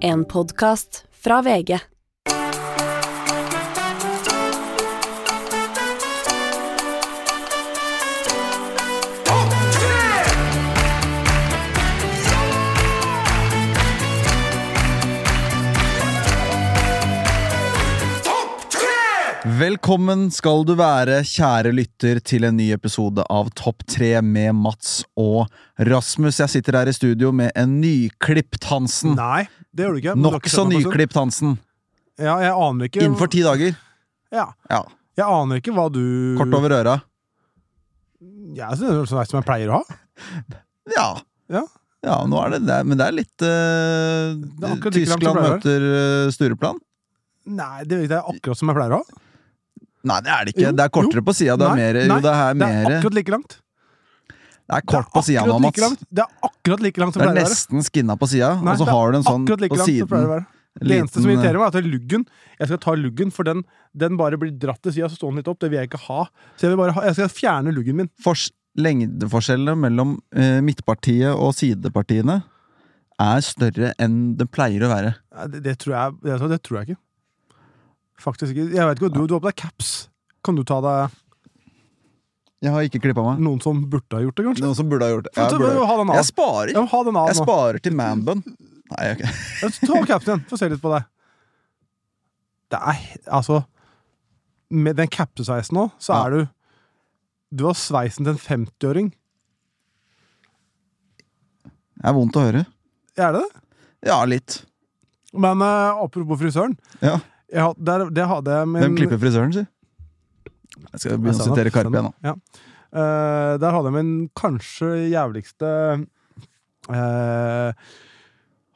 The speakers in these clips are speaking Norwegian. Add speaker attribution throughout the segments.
Speaker 1: En podkast fra VG.
Speaker 2: Velkommen skal du være, kjære lytter, til en ny episode av Topp 3 med Mats og Rasmus. Jeg sitter her i studio med en nyklipt Hansen.
Speaker 3: Nei, det gjør du ikke. men du har ikke
Speaker 2: Nokså
Speaker 3: sett meg på en stund.
Speaker 2: nyklipt Hansen.
Speaker 3: Ja, jeg aner ikke
Speaker 2: Innenfor ti dager.
Speaker 3: Ja,
Speaker 2: Ja,
Speaker 3: jeg aner ikke hva du
Speaker 2: Kort over øra.
Speaker 3: Jeg synes det er sånn som jeg pleier å ha.
Speaker 2: Ja.
Speaker 3: Ja.
Speaker 2: Ja, nå er det det. Men det er litt eh,
Speaker 3: Det er akkurat like langt som
Speaker 2: Tyskland
Speaker 3: pleier.
Speaker 2: møter eh, Stureplan.
Speaker 3: Nei, det er akkurat som jeg pleier å ha.
Speaker 2: Nei, det er det ikke.
Speaker 3: Jo,
Speaker 2: Det er kortere på sida. Det er
Speaker 3: Nei,
Speaker 2: mer Jo,
Speaker 3: nei,
Speaker 2: det
Speaker 3: Det er
Speaker 2: er mere.
Speaker 3: akkurat like langt.
Speaker 2: Det er
Speaker 3: Det er
Speaker 2: kort på sida
Speaker 3: akkurat
Speaker 2: nå,
Speaker 3: like
Speaker 2: Mats.
Speaker 3: langt. Det er akkurat like langt som
Speaker 2: Det
Speaker 3: jeg
Speaker 2: er
Speaker 3: pleier å være.
Speaker 2: nesten skinna på sida,
Speaker 3: Nei,
Speaker 2: og så
Speaker 3: det er
Speaker 2: har du en sånn
Speaker 3: akkurat like
Speaker 2: på
Speaker 3: langt som jeg pleier å
Speaker 2: siden.
Speaker 3: være. Det eneste som
Speaker 2: liten,
Speaker 3: irriterer meg, er at luggen Jeg skal ta luggen, for den, den bare blir dratt til sida, så står den litt opp. Det vil jeg ikke ha. Så jeg vil bare ha Jeg skal fjerne luggen min.
Speaker 2: fors lengdeforskjellene mellom eh, midtpartiet og sidepartiene er større enn det pleier å være.
Speaker 3: Nei, Det, det, tror, jeg, det, det tror jeg ikke. Faktisk ikke. Jeg vet ikke hva du Du har på deg caps. Kan du ta deg
Speaker 2: Jeg har ikke klippa meg.
Speaker 3: noen som burde ha gjort det, kanskje?
Speaker 2: Noen som burde ha gjort det.
Speaker 3: Få ta-
Speaker 2: Jeg, burde.
Speaker 3: ha den av.
Speaker 2: jeg sparer.
Speaker 3: Ja, men ha den av
Speaker 2: Jeg
Speaker 3: nå.
Speaker 2: sparer til manbun. Nei, jeg,
Speaker 3: Ta capsen, få se litt på deg. Det er altså Med den capsesveisen nå, så
Speaker 2: Ja.
Speaker 3: er du Du har sveisen til en 50-åring.
Speaker 2: jeg er vondt å høre.
Speaker 3: Er det det?
Speaker 2: Ja, litt.
Speaker 3: Men eh, apropos frisøren.
Speaker 2: Ja.
Speaker 3: Jeg, had- der, det hadde jeg min
Speaker 2: Hvem klipper frisøren, si? Jeg skal begynne å
Speaker 3: Stand up,
Speaker 2: sitere Karpe
Speaker 3: stand
Speaker 2: igjen nå.
Speaker 3: up. Ja. Eh, der hadde jeg min kanskje jævligste eh,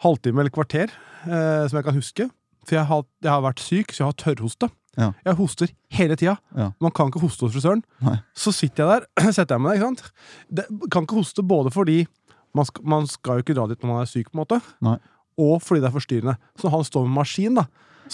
Speaker 3: halvtime eller kvarter eh, som jeg kan huske. For jeg har, jeg har vært syk, så jeg har tørrhoste.
Speaker 2: Ja.
Speaker 3: Jeg hoster hele tida.
Speaker 2: Ja.
Speaker 3: Man kan ikke hoste hos frisøren.
Speaker 2: Nei.
Speaker 3: Så sitter jeg der, setter jeg meg ned, ikke sant. Det, kan ikke hoste både fordi man skal, man skal jo ikke dra dit når man er syk, på en måte,
Speaker 2: Nei.
Speaker 3: og fordi det er forstyrrende. Så når han står med maskin, da,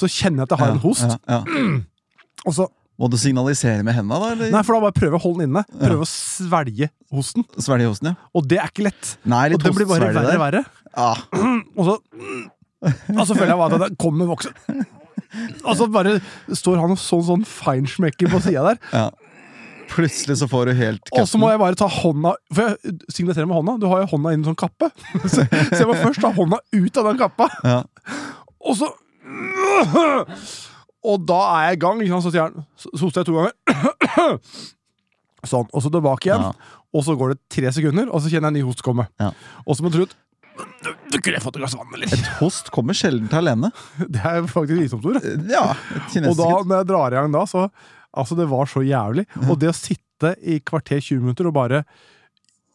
Speaker 3: så kjenner jeg at jeg har en host.
Speaker 2: Ja, ja.
Speaker 3: Og så,
Speaker 2: Må du signalisere med henda, da? Eller
Speaker 3: nei, for da bare prøver jeg å holde den inne. Prøver å svelge hosten.
Speaker 2: svelge hosten, ja?
Speaker 3: Og det er ikke lett.
Speaker 2: Nei,
Speaker 3: Og
Speaker 2: litt
Speaker 3: det blir bare verre og
Speaker 2: hostesvelge der.
Speaker 3: verre.
Speaker 2: Ah,
Speaker 3: Og så, og så føler jeg bare at det kommer voksen. Og så bare står han og sånn sånn feinschmecker på sida der.
Speaker 2: ja. Plutselig så får du helt
Speaker 3: Og så
Speaker 2: kutten.
Speaker 3: må jeg bare ta hånda For jeg signaliserer med hånda. Du har jo hånda inni en sånn kappe. Så, så jeg må først ta hånda ut av den kappa,
Speaker 2: Ja.
Speaker 3: og så Og da er jeg i gang. Ikke sant? Så sier han Så så hoster jeg to ganger. Sånn. Og så tilbake igjen.
Speaker 2: Ja.
Speaker 3: Og så går det tre sekunder, og så kjenner jeg en ny host komme.
Speaker 2: Ja.
Speaker 3: Og så må du ut du, du kunne jeg fått et glass vann, eller?
Speaker 2: Et host kommer sjelden til alene.
Speaker 3: Det er faktisk visdomsord.
Speaker 2: Ja,
Speaker 3: Og da,
Speaker 2: kinesisk.
Speaker 3: når jeg drar i gang da, så Altså, det var så jævlig. Og det å sitte i kvarter 20 minutter og bare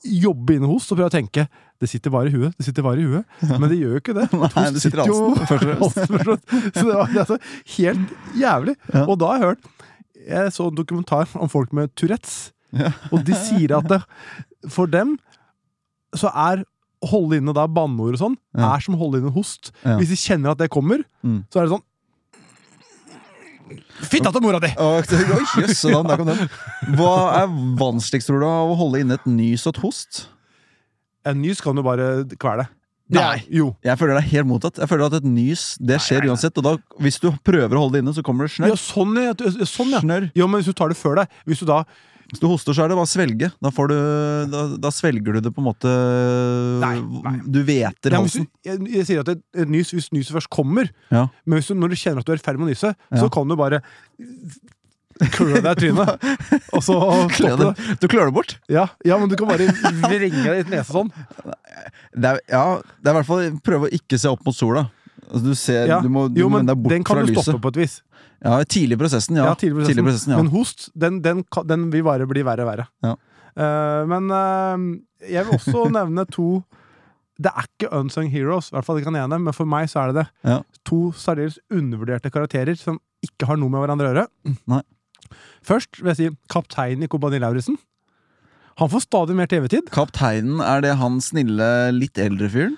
Speaker 3: jobbe inne hos og prøve å tenke Det sitter bare i huet, det sitter bare i huet. Men det gjør jo ikke det.
Speaker 2: Nei, det sitter i halsen, først og fremst.
Speaker 3: Halsen først og fremst. Så det var altså helt jævlig.
Speaker 2: Ja.
Speaker 3: Og da har jeg hørt Jeg så en dokumentar om folk med Tourettes,
Speaker 2: Ja.
Speaker 3: og de sier at det, for dem så er å holde inne da banneord og sånn,
Speaker 2: Ja.
Speaker 3: er som å holde inne en host.
Speaker 2: Ja.
Speaker 3: Hvis de kjenner at det kommer,
Speaker 2: Mm.
Speaker 3: så er det sånn Fitta til mora di!
Speaker 2: Og- Oi, jøss, så da- der kom den. Hva er vanskeligst, tror du, av å holde inne et nys og et host?
Speaker 3: En nys kan du bare kvele. Det er-
Speaker 2: Nei.
Speaker 3: Jo.
Speaker 2: Jeg føler det er helt mottatt. Jeg føler at et nys det skjer uansett. Og da, hvis du prøver å holde det inne, så kommer det
Speaker 3: Ja,
Speaker 2: snørr.
Speaker 3: sånn, ja. Du- ja, Sånn, ja.
Speaker 2: Snørr.
Speaker 3: Jo, men hvis du tar det før deg Hvis du da
Speaker 2: Hvis du hoster, så er det bare å svelge. Da, får du, da, da svelger du det på en måte
Speaker 3: Nei, nei.
Speaker 2: Du hveter
Speaker 3: ja, men hvis du,
Speaker 2: halsen.
Speaker 3: jeg, jeg sier at et, et nys, hvis nyset først kommer,
Speaker 2: Ja.
Speaker 3: men hvis du, når du kjenner at du er i ferd med å nyse,
Speaker 2: Ja.
Speaker 3: så kan du bare klø deg i trynet. Og så
Speaker 2: Klør
Speaker 3: stoppe det.
Speaker 2: det- Du klør det bort.
Speaker 3: Ja, ja, men du kan bare vrenge deg i nesa sånn.
Speaker 2: Det er, ja, det er i hvert fall prøve å ikke se opp mot sola. Altså, du ser,
Speaker 3: Ja.
Speaker 2: du må, du
Speaker 3: jo,
Speaker 2: må
Speaker 3: men
Speaker 2: vende deg bort
Speaker 3: den kan
Speaker 2: fra
Speaker 3: du
Speaker 2: lyset.
Speaker 3: stoppe på et vis.
Speaker 2: Ja, tidlig i prosessen, ja.
Speaker 3: Ja, tidlig i prosessen.
Speaker 2: Tidlig i prosessen, ja.
Speaker 3: Men host, den, den, ka- den vil bare bli verre og verre.
Speaker 2: Ja.
Speaker 3: Eh, men eh, jeg vil også nevne to Det er ikke unsung heroes, i hvert fall ikke han ene, men for meg så er det det.
Speaker 2: Ja.
Speaker 3: To særdeles undervurderte karakterer som ikke har noe med hverandre å gjøre.
Speaker 2: Nei.
Speaker 3: Først vil jeg si kapteinen i Kompani Lauritzen. Han får stadig mer TV-tid.
Speaker 2: Kapteinen, er det han snille, litt eldre fyren?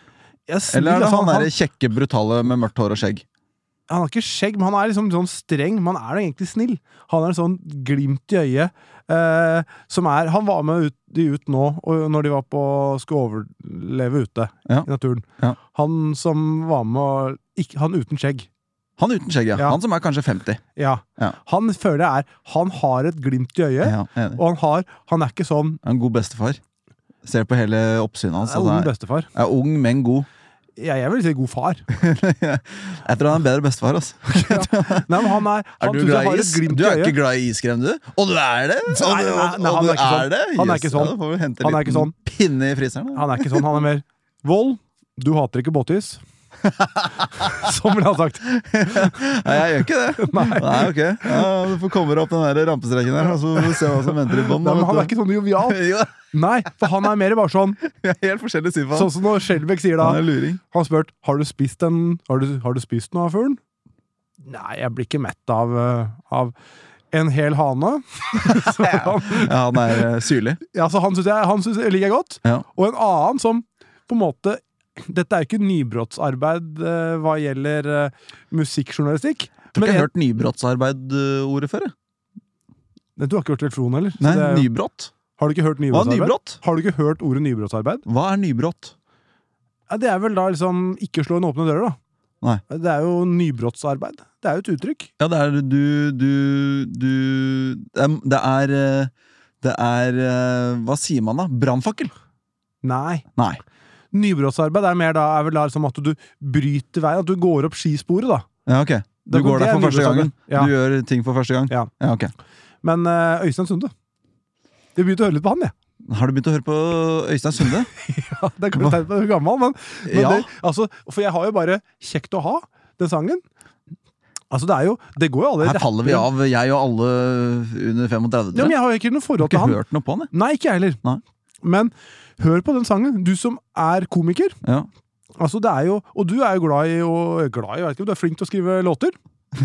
Speaker 3: Jeg sier
Speaker 2: Eller er det
Speaker 3: at
Speaker 2: han
Speaker 3: altså han,
Speaker 2: derre kjekke, brutale med mørkt hår og skjegg?
Speaker 3: han har ikke skjegg, men han er liksom sånn streng. Men han er egentlig snill. Han er en sånn glimt i øyet. Eh, som er, han var med ut, de ut nå, og når de var på, skulle overleve ute
Speaker 2: Ja.
Speaker 3: i naturen.
Speaker 2: Ja.
Speaker 3: Han som var med og Ikke, han uten skjegg.
Speaker 2: Han uten skjegg, ja.
Speaker 3: Ja.
Speaker 2: Han som er kanskje 50.
Speaker 3: Ja.
Speaker 2: Ja.
Speaker 3: Han føler jeg er Han har et glimt i øyet,
Speaker 2: Ja, enig.
Speaker 3: og han har Han er ikke sånn
Speaker 2: En god bestefar. Ser på hele oppsynet hans.
Speaker 3: er ung
Speaker 2: at
Speaker 3: bestefar.
Speaker 2: han Altså, Er ung, men god.
Speaker 3: Ja, jeg vil si god far.
Speaker 2: Jeg tror han er en bedre bestefar. Altså.
Speaker 3: Nei, men han er
Speaker 2: Er
Speaker 3: han
Speaker 2: du
Speaker 3: synes jeg
Speaker 2: glad
Speaker 3: har
Speaker 2: i
Speaker 3: et
Speaker 2: is?
Speaker 3: glimt
Speaker 2: Du
Speaker 3: i
Speaker 2: er ikke
Speaker 3: øyet.
Speaker 2: glad i iskrem, du? Og du er det? Og
Speaker 3: Nei,
Speaker 2: du-
Speaker 3: nei, nei,
Speaker 2: og
Speaker 3: han
Speaker 2: du
Speaker 3: er ikke sånn.
Speaker 2: det?
Speaker 3: Han er ikke
Speaker 2: Jøss,
Speaker 3: sånn.
Speaker 2: Ja, da får vi hente en
Speaker 3: Han er
Speaker 2: liten
Speaker 3: ikke sånn.
Speaker 2: pinne i fryseren. da.
Speaker 3: Han er ikke sånn. Han er mer Vold, du hater ikke båtis. Som ville han sagt.
Speaker 2: Nei, jeg gjør ikke det. Nei, ok. Ja, du får komme deg opp den der rampestreken der, og så får vi se hva som venter i bånn.
Speaker 3: Nei, men han er ikke sånn jovial.
Speaker 2: Jo,
Speaker 3: Nei, for han er mer bare sånn
Speaker 2: vi er helt forskjellig syn på han.
Speaker 3: Sånn som når Skjelbæk sier
Speaker 2: Han
Speaker 3: da
Speaker 2: er luring.
Speaker 3: Han har spurt har du spist en, har, du, har du spist noe av fuglen. Nei, jeg blir ikke mett av, eh, av en hel hane. så han,
Speaker 2: Ja, han er eh, syrlig.
Speaker 3: ja, så han syns jeg, han synes jeg liker godt.
Speaker 2: Ja.
Speaker 3: Og en annen som på en måte Dette er jo ikke nybrottsarbeid eh, hva gjelder eh, musikkjournalistikk.
Speaker 2: Tror ikke
Speaker 3: Men
Speaker 2: jeg
Speaker 3: en-
Speaker 2: har hørt nybrottsarbeid-ordet før. jeg.
Speaker 3: Nei, Du har ikke hørt telefon, eller? Så
Speaker 2: Nei,
Speaker 3: det er jo-
Speaker 2: nybrott.
Speaker 3: har du ikke hørt
Speaker 2: Hva er
Speaker 3: nybrottsarbeid?
Speaker 2: nybrott?
Speaker 3: Har du ikke hørt ordet nybrottsarbeid?
Speaker 2: Hva er nybrott?
Speaker 3: Ja, det er vel da liksom ikke slå inn åpne dører, da.
Speaker 2: Nei.
Speaker 3: Det er jo nybrottsarbeid. Det er jo et uttrykk.
Speaker 2: Ja, det er du, du, du Det er Det er, eh, det er eh, Hva sier man da? Brannfakkel?
Speaker 3: Nei.
Speaker 2: Nei.
Speaker 3: Nybrottsarbeid er mer da er vel da liksom at du bryter veien, at du går opp skisporet, da.
Speaker 2: Ja, ok. Du
Speaker 3: Det-
Speaker 2: går
Speaker 3: det
Speaker 2: der
Speaker 3: er
Speaker 2: for første gangen.
Speaker 3: nybrottsarbeid. Ja.
Speaker 2: Du gjør ting for første gang.
Speaker 3: Ja.
Speaker 2: ja ok.
Speaker 3: Men eh, Øystein Sunde Jeg begynte å høre litt på han, jeg.
Speaker 2: Har du begynt å høre på Øystein Sunde?
Speaker 3: Ja, det er kanskje tegn på at jeg er gammel, men, men
Speaker 2: Ja.
Speaker 3: det, altså, For jeg har jo bare 'Kjekt å ha', den sangen. Altså, det er jo Det går jo alle
Speaker 2: Her faller vi av, jeg og alle under 35.
Speaker 3: Ja, men jeg har jo ikke noe forhold til
Speaker 2: ikke
Speaker 3: han.
Speaker 2: hørt noe på han, jeg.
Speaker 3: Nei, ikke jeg heller.
Speaker 2: Nei.
Speaker 3: Men hør på den sangen. Du som er komiker.
Speaker 2: Ja.
Speaker 3: Altså, det er jo, og du er jo glad i, og, glad i jeg vet ikke, om Du er flink til å skrive låter.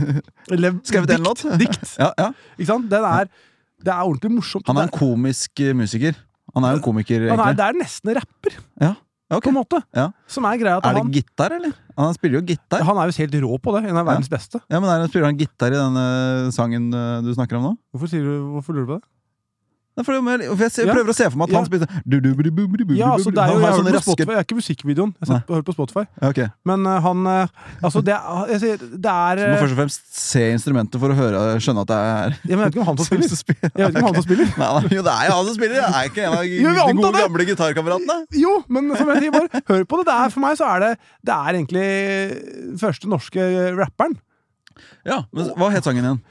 Speaker 3: Eller
Speaker 2: Skrevet en
Speaker 3: dikt.
Speaker 2: låt?
Speaker 3: dikt
Speaker 2: Ja, ja.
Speaker 3: ikke sant? Den er, det er ordentlig morsomt.
Speaker 2: Han er en
Speaker 3: det,
Speaker 2: komisk eh, musiker. Han er jo en komiker,
Speaker 3: er, han er,
Speaker 2: egentlig.
Speaker 3: det er nesten rapper,
Speaker 2: Ja. Ja, ok.
Speaker 3: på en måte.
Speaker 2: Ja.
Speaker 3: Som er greia at
Speaker 2: Er det
Speaker 3: han,
Speaker 2: gitar, eller? Han spiller jo gitar.
Speaker 3: han er jo helt rå på det. En av verdens beste.
Speaker 2: Ja, men er det, Spiller han gitar i denne sangen eh, du snakker om nå?
Speaker 3: Hvorfor, sier du, hvorfor lurer du på det?
Speaker 2: Nei, for det er jo mer- for Jeg ser-
Speaker 3: Ja.
Speaker 2: prøver å se for meg at han
Speaker 3: Ja.
Speaker 2: spiller sånn- du- du- du- du- du- du- du-
Speaker 3: Ja, altså, det er jo, jeg,
Speaker 2: Han har
Speaker 3: har
Speaker 2: sånne
Speaker 3: hørt på
Speaker 2: raske
Speaker 3: Spotify, jeg er ikke musikkvideoen. Jeg har sett- hørt på Spotify.
Speaker 2: Ja, ok.
Speaker 3: Men eh, han eh, Altså, det er, jeg sier, det er
Speaker 2: Du må
Speaker 3: eh,
Speaker 2: først og fremst se instrumentet for å høre, skjønne at det er
Speaker 3: Jeg vet ikke om han som spiller.
Speaker 2: spiller.
Speaker 3: Jeg vet ikke om han som spiller.
Speaker 2: Nei, nei, jo, det er jo han som spiller! Det er ikke en av
Speaker 3: vi
Speaker 2: de
Speaker 3: antar
Speaker 2: gode,
Speaker 3: det.
Speaker 2: gamle gitarkameratene.
Speaker 3: Jo, men som jeg sier, bare hør på det. det er, for meg så er det Det er egentlig første norske rapperen.
Speaker 2: Ja, men Hva het sangen igjen?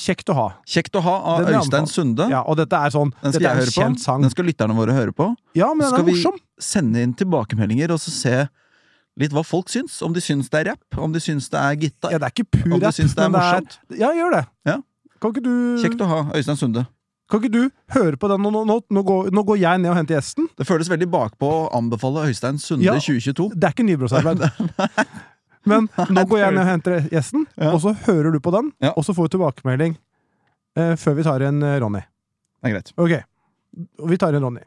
Speaker 3: Kjekt å ha.
Speaker 2: 'Kjekt å ha' av
Speaker 3: Den vil jeg
Speaker 2: Øystein
Speaker 3: anbefale.
Speaker 2: Sunde.
Speaker 3: Ja, og dette er sånn
Speaker 2: Den skal
Speaker 3: Dette
Speaker 2: jeg
Speaker 3: er
Speaker 2: høre
Speaker 3: en
Speaker 2: på.
Speaker 3: kjent sang.
Speaker 2: Den skal lytterne våre høre på.
Speaker 3: Ja, men den
Speaker 2: Skal
Speaker 3: er
Speaker 2: vi-
Speaker 3: morsom.
Speaker 2: Sende inn tilbakemeldinger, og så se litt hva folk syns. Om de syns det er rapp, om de syns det er gitar.
Speaker 3: Ja, det er ikke pur
Speaker 2: Om du
Speaker 3: rapp,
Speaker 2: syns det er
Speaker 3: men
Speaker 2: morsomt?
Speaker 3: Ja, gjør det.
Speaker 2: Ja.
Speaker 3: Kan ikke du
Speaker 2: Kjekt å ha Øystein Sunde.
Speaker 3: Kan ikke du høre på den? Nå, nå, nå, nå, går, nå går jeg ned og henter gjesten.
Speaker 2: Det føles veldig bakpå å anbefale Øystein Sunde
Speaker 3: Ja.
Speaker 2: 2022.
Speaker 3: Det er ikke nybrottsarbeid. Men nå går jeg ned og henter gjesten,
Speaker 2: Ja.
Speaker 3: og så hører du på den,
Speaker 2: Ja.
Speaker 3: og så får du tilbakemelding eh, før vi tar en eh, Ronny.
Speaker 2: Det er greit.
Speaker 3: Ok, vi tar en Ronny.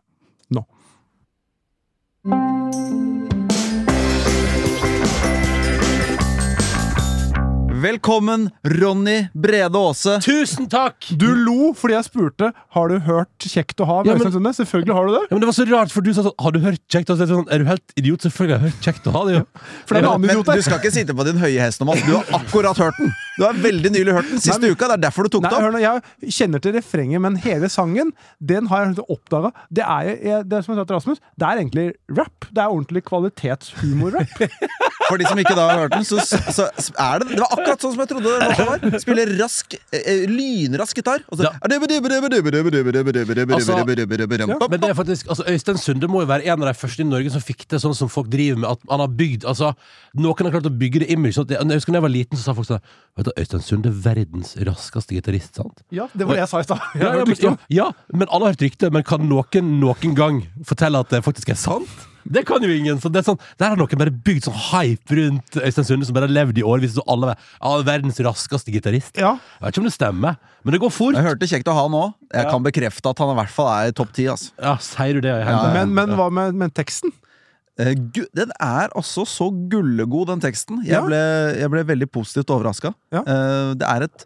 Speaker 3: Nå.
Speaker 2: Velkommen, Ronny Brede Aase.
Speaker 4: Tusen takk!
Speaker 3: Du lo fordi jeg spurte Har du hørt 'Kjekt å ha' med
Speaker 4: Ja, men-
Speaker 3: Øystein Sunde. Selvfølgelig har du det!
Speaker 4: Ja, men det var så rart, for du sa sånn Har du hørt kjekt? Og så er det sånn, er du helt idiot? Selvfølgelig har jeg hørt kjekt å ha det, jo.
Speaker 3: For det er en
Speaker 4: Ja,
Speaker 3: annen
Speaker 2: Men
Speaker 3: idiot
Speaker 2: du
Speaker 3: der.
Speaker 2: skal ikke sitte på din høye hest nå, Mads. Du har akkurat hørt den. Du har veldig nylig hørt den siste uka. Det er derfor du tok
Speaker 3: Nei,
Speaker 2: det opp.
Speaker 3: hør nå, jeg kjenner til refrenget, men hele sangen Den har jeg oppdaga. Det er, jo- jeg, det er som jeg sa til Rasmus, det er egentlig rap. Det er ordentlig kvalitetshumor-rap.
Speaker 2: For de som ikke da har hørt den, så, så så er det Det var akkurat sånn som jeg trodde det låta var. Spiller rask, eh, lynrask gitar, og så
Speaker 4: Ja. Men det
Speaker 2: ja.
Speaker 4: er faktisk, altså Øystein Sunde må jo være en av de første i Norge som fikk det sånn som folk driver med. At han har bygd, altså Noen har klart å bygge det image. Sånn at jeg, jeg husker da jeg var liten, så sa folk sånn Vet du, Øystein Sunde er verdens raskeste gitarist, sant?
Speaker 3: Ja, det var det jeg sa i stad. Jeg
Speaker 4: Ja,
Speaker 3: har
Speaker 4: ja,
Speaker 3: hørt
Speaker 4: men,
Speaker 3: rykter
Speaker 4: ja,
Speaker 3: om-
Speaker 4: ja, men alle har hørt ryktet. Men kan noen noen gang fortelle at det faktisk er sant? Det kan jo ingen. så det er sånn, Der har noen bare bygd sånn hype rundt Øystein Sunde, som bare har levd i årevis. og alle er, Ja, verdens raskeste gitarist.
Speaker 3: Ja.
Speaker 4: Jeg vet ikke om det stemmer, men det går fort.
Speaker 2: Jeg hørte kjekt å ha han òg. Jeg kan bekrefte at han i hvert fall er i topp ti. Altså.
Speaker 4: Ja, Sier du det? Jeg er helt
Speaker 2: Ja,
Speaker 4: enig.
Speaker 3: Men, men hva med, med teksten?
Speaker 2: Eh, gu- Den er altså så gullegod, den teksten. Jeg,
Speaker 3: Ja.
Speaker 2: ble, jeg ble veldig positivt overraska.
Speaker 3: Ja.
Speaker 2: Det er et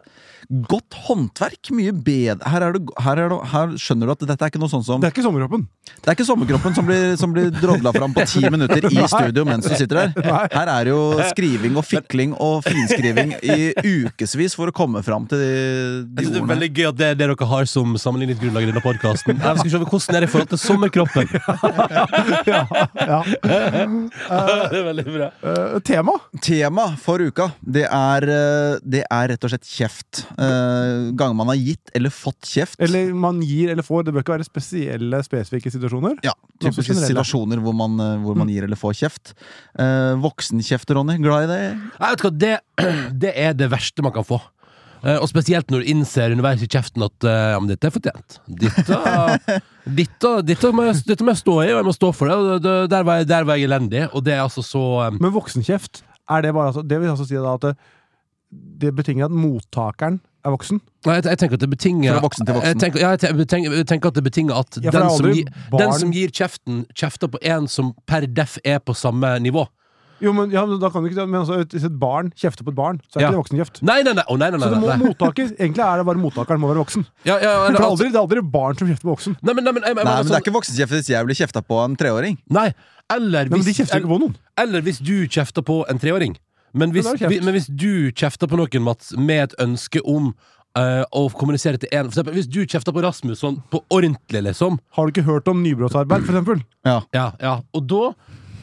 Speaker 2: godt håndverk. Mye bedre her, er det, go- her, er det, her skjønner du at dette er ikke noe sånn som
Speaker 3: Det er ikke sommerhoppen.
Speaker 2: Det er ikke sommerkroppen som blir, som blir drodla fram på ti minutter i studio mens du sitter der.
Speaker 3: Nei.
Speaker 2: Her er det jo skriving og fikling og finskriving i ukevis for å komme fram til de, de
Speaker 4: Jeg synes det er
Speaker 2: ordene.
Speaker 4: veldig gøy at det er det dere har som sammenligningsgrunnlag i denne podkasten. Hvordan er det i forhold til sommerkroppen?
Speaker 3: Ja.
Speaker 4: det er veldig bra.
Speaker 3: Eh, tema?
Speaker 2: Tema for uka, det er, eh, det er rett og slett kjeft. Eh, Ganger man har gitt eller fått kjeft.
Speaker 3: Eller man gir eller får. Det bør ikke være spesielle, spesifikke situasjoner.
Speaker 2: ja,
Speaker 3: Noe
Speaker 2: typiske
Speaker 3: generelt, Mm. da.
Speaker 2: situasjoner hvor man, eh, hvor man gir eller får kjeft. Eh, Voksenkjeft, Ronny. Glad i det?
Speaker 4: Nei, vet du hva, det, det er det verste man kan få. Eh, Og spesielt når du innser underveis i kjeften at eh, ja, men dette er fortjent. Dette, dette, dette, må jeg, dette må jeg stå i, og jeg må stå for det. og det- det- Der var jeg, der var jeg elendig, og det er altså så eh,
Speaker 3: Men voksenkjeft, er det, bare, altså, det vil altså si da at det, det betinger at mottakeren er voksen?
Speaker 4: Nei, jeg, jeg tenker at det betinger
Speaker 2: Fra voksen til voksen.
Speaker 4: Jeg tenker, ja, jeg tenker, jeg tenker, jeg tenker at det betinger at
Speaker 3: Ja, for det er
Speaker 4: den, som
Speaker 3: aldri
Speaker 4: gir, den
Speaker 3: barn-
Speaker 4: som gir kjeften, kjefter på en som per def er på samme nivå.
Speaker 3: Jo, men, ja, men da kan du ikke Men altså, hvis et barn kjefter på et barn, så er det
Speaker 4: Ja.
Speaker 3: ikke det voksenkjeft.
Speaker 4: Nei, nei, nei! Å, nei, nei,
Speaker 3: Så
Speaker 4: nei,
Speaker 3: det må
Speaker 4: nei, nei.
Speaker 3: mottaker Egentlig er det bare mottakeren må være voksen.
Speaker 4: Ja, ja,
Speaker 3: For
Speaker 4: eller,
Speaker 3: det er
Speaker 4: altså,
Speaker 3: aldri, det er aldri barn som kjefter på voksen.
Speaker 4: nei, men, nei, men, jeg,
Speaker 2: Nei,
Speaker 4: jeg, mener
Speaker 2: men det er
Speaker 3: altså-
Speaker 4: sånn-
Speaker 2: ikke voksenkjeft hvis jeg blir kjefta på av en treåring.
Speaker 4: Nei, eller
Speaker 3: Nei, men de
Speaker 4: hvis,
Speaker 3: kjefter jo ikke på noen.
Speaker 4: eller hvis du kjefter på en treåring. Men hvis,
Speaker 3: Men da er det kjeft.
Speaker 4: vi- men hvis du kjefter på noen, Mats, med et ønske om eh, å kommunisere til en For eksempel, hvis du kjefter på Rasmus sånn på ordentlig, liksom.
Speaker 3: Har du ikke hørt om nybrottsarbeid, for eksempel?
Speaker 2: Ja.
Speaker 4: Ja, ja. Og da,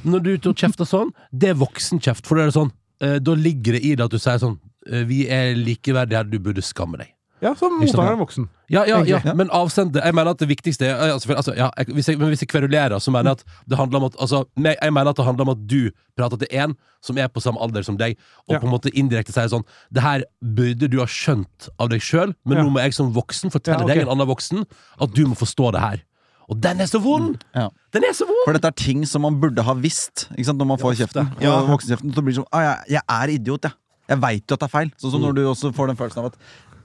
Speaker 4: når du er ute og kjefter sånn, det er voksenkjeft. For da er det sånn, eh, da ligger det i det at du sier sånn eh, Vi er likeverdige her, du burde skamme deg.
Speaker 3: Ja, så mottakeren er voksen.
Speaker 4: Ja, ja, ja,
Speaker 3: Egentlig, ja.
Speaker 4: men avsender Jeg mener at det viktigste er altså, for- altså, ja, jeg, hvis, jeg, men hvis jeg kverulerer, så mener jeg at det handler om at altså, meg- Jeg mener at det handler om at du prater til en som er på samme alder som deg, og
Speaker 3: Ja.
Speaker 4: på en måte indirekte sier sånn Det her burde du ha skjønt av deg sjøl, men
Speaker 3: Ja.
Speaker 4: nå må jeg som voksen fortelle
Speaker 3: Ja, ok.
Speaker 4: deg, en annen voksen, at du må forstå det her. Og den er så vond!
Speaker 2: Ja.
Speaker 4: Den er så vond!
Speaker 2: For dette er ting som man burde ha visst ikke sant? når man får kjeften. Og voksenkjeften så blir det sånn ah, jeg, jeg er idiot, jeg. Jeg veit jo at det er feil. Sånn som
Speaker 3: Mm.
Speaker 2: når du også får den følelsen av at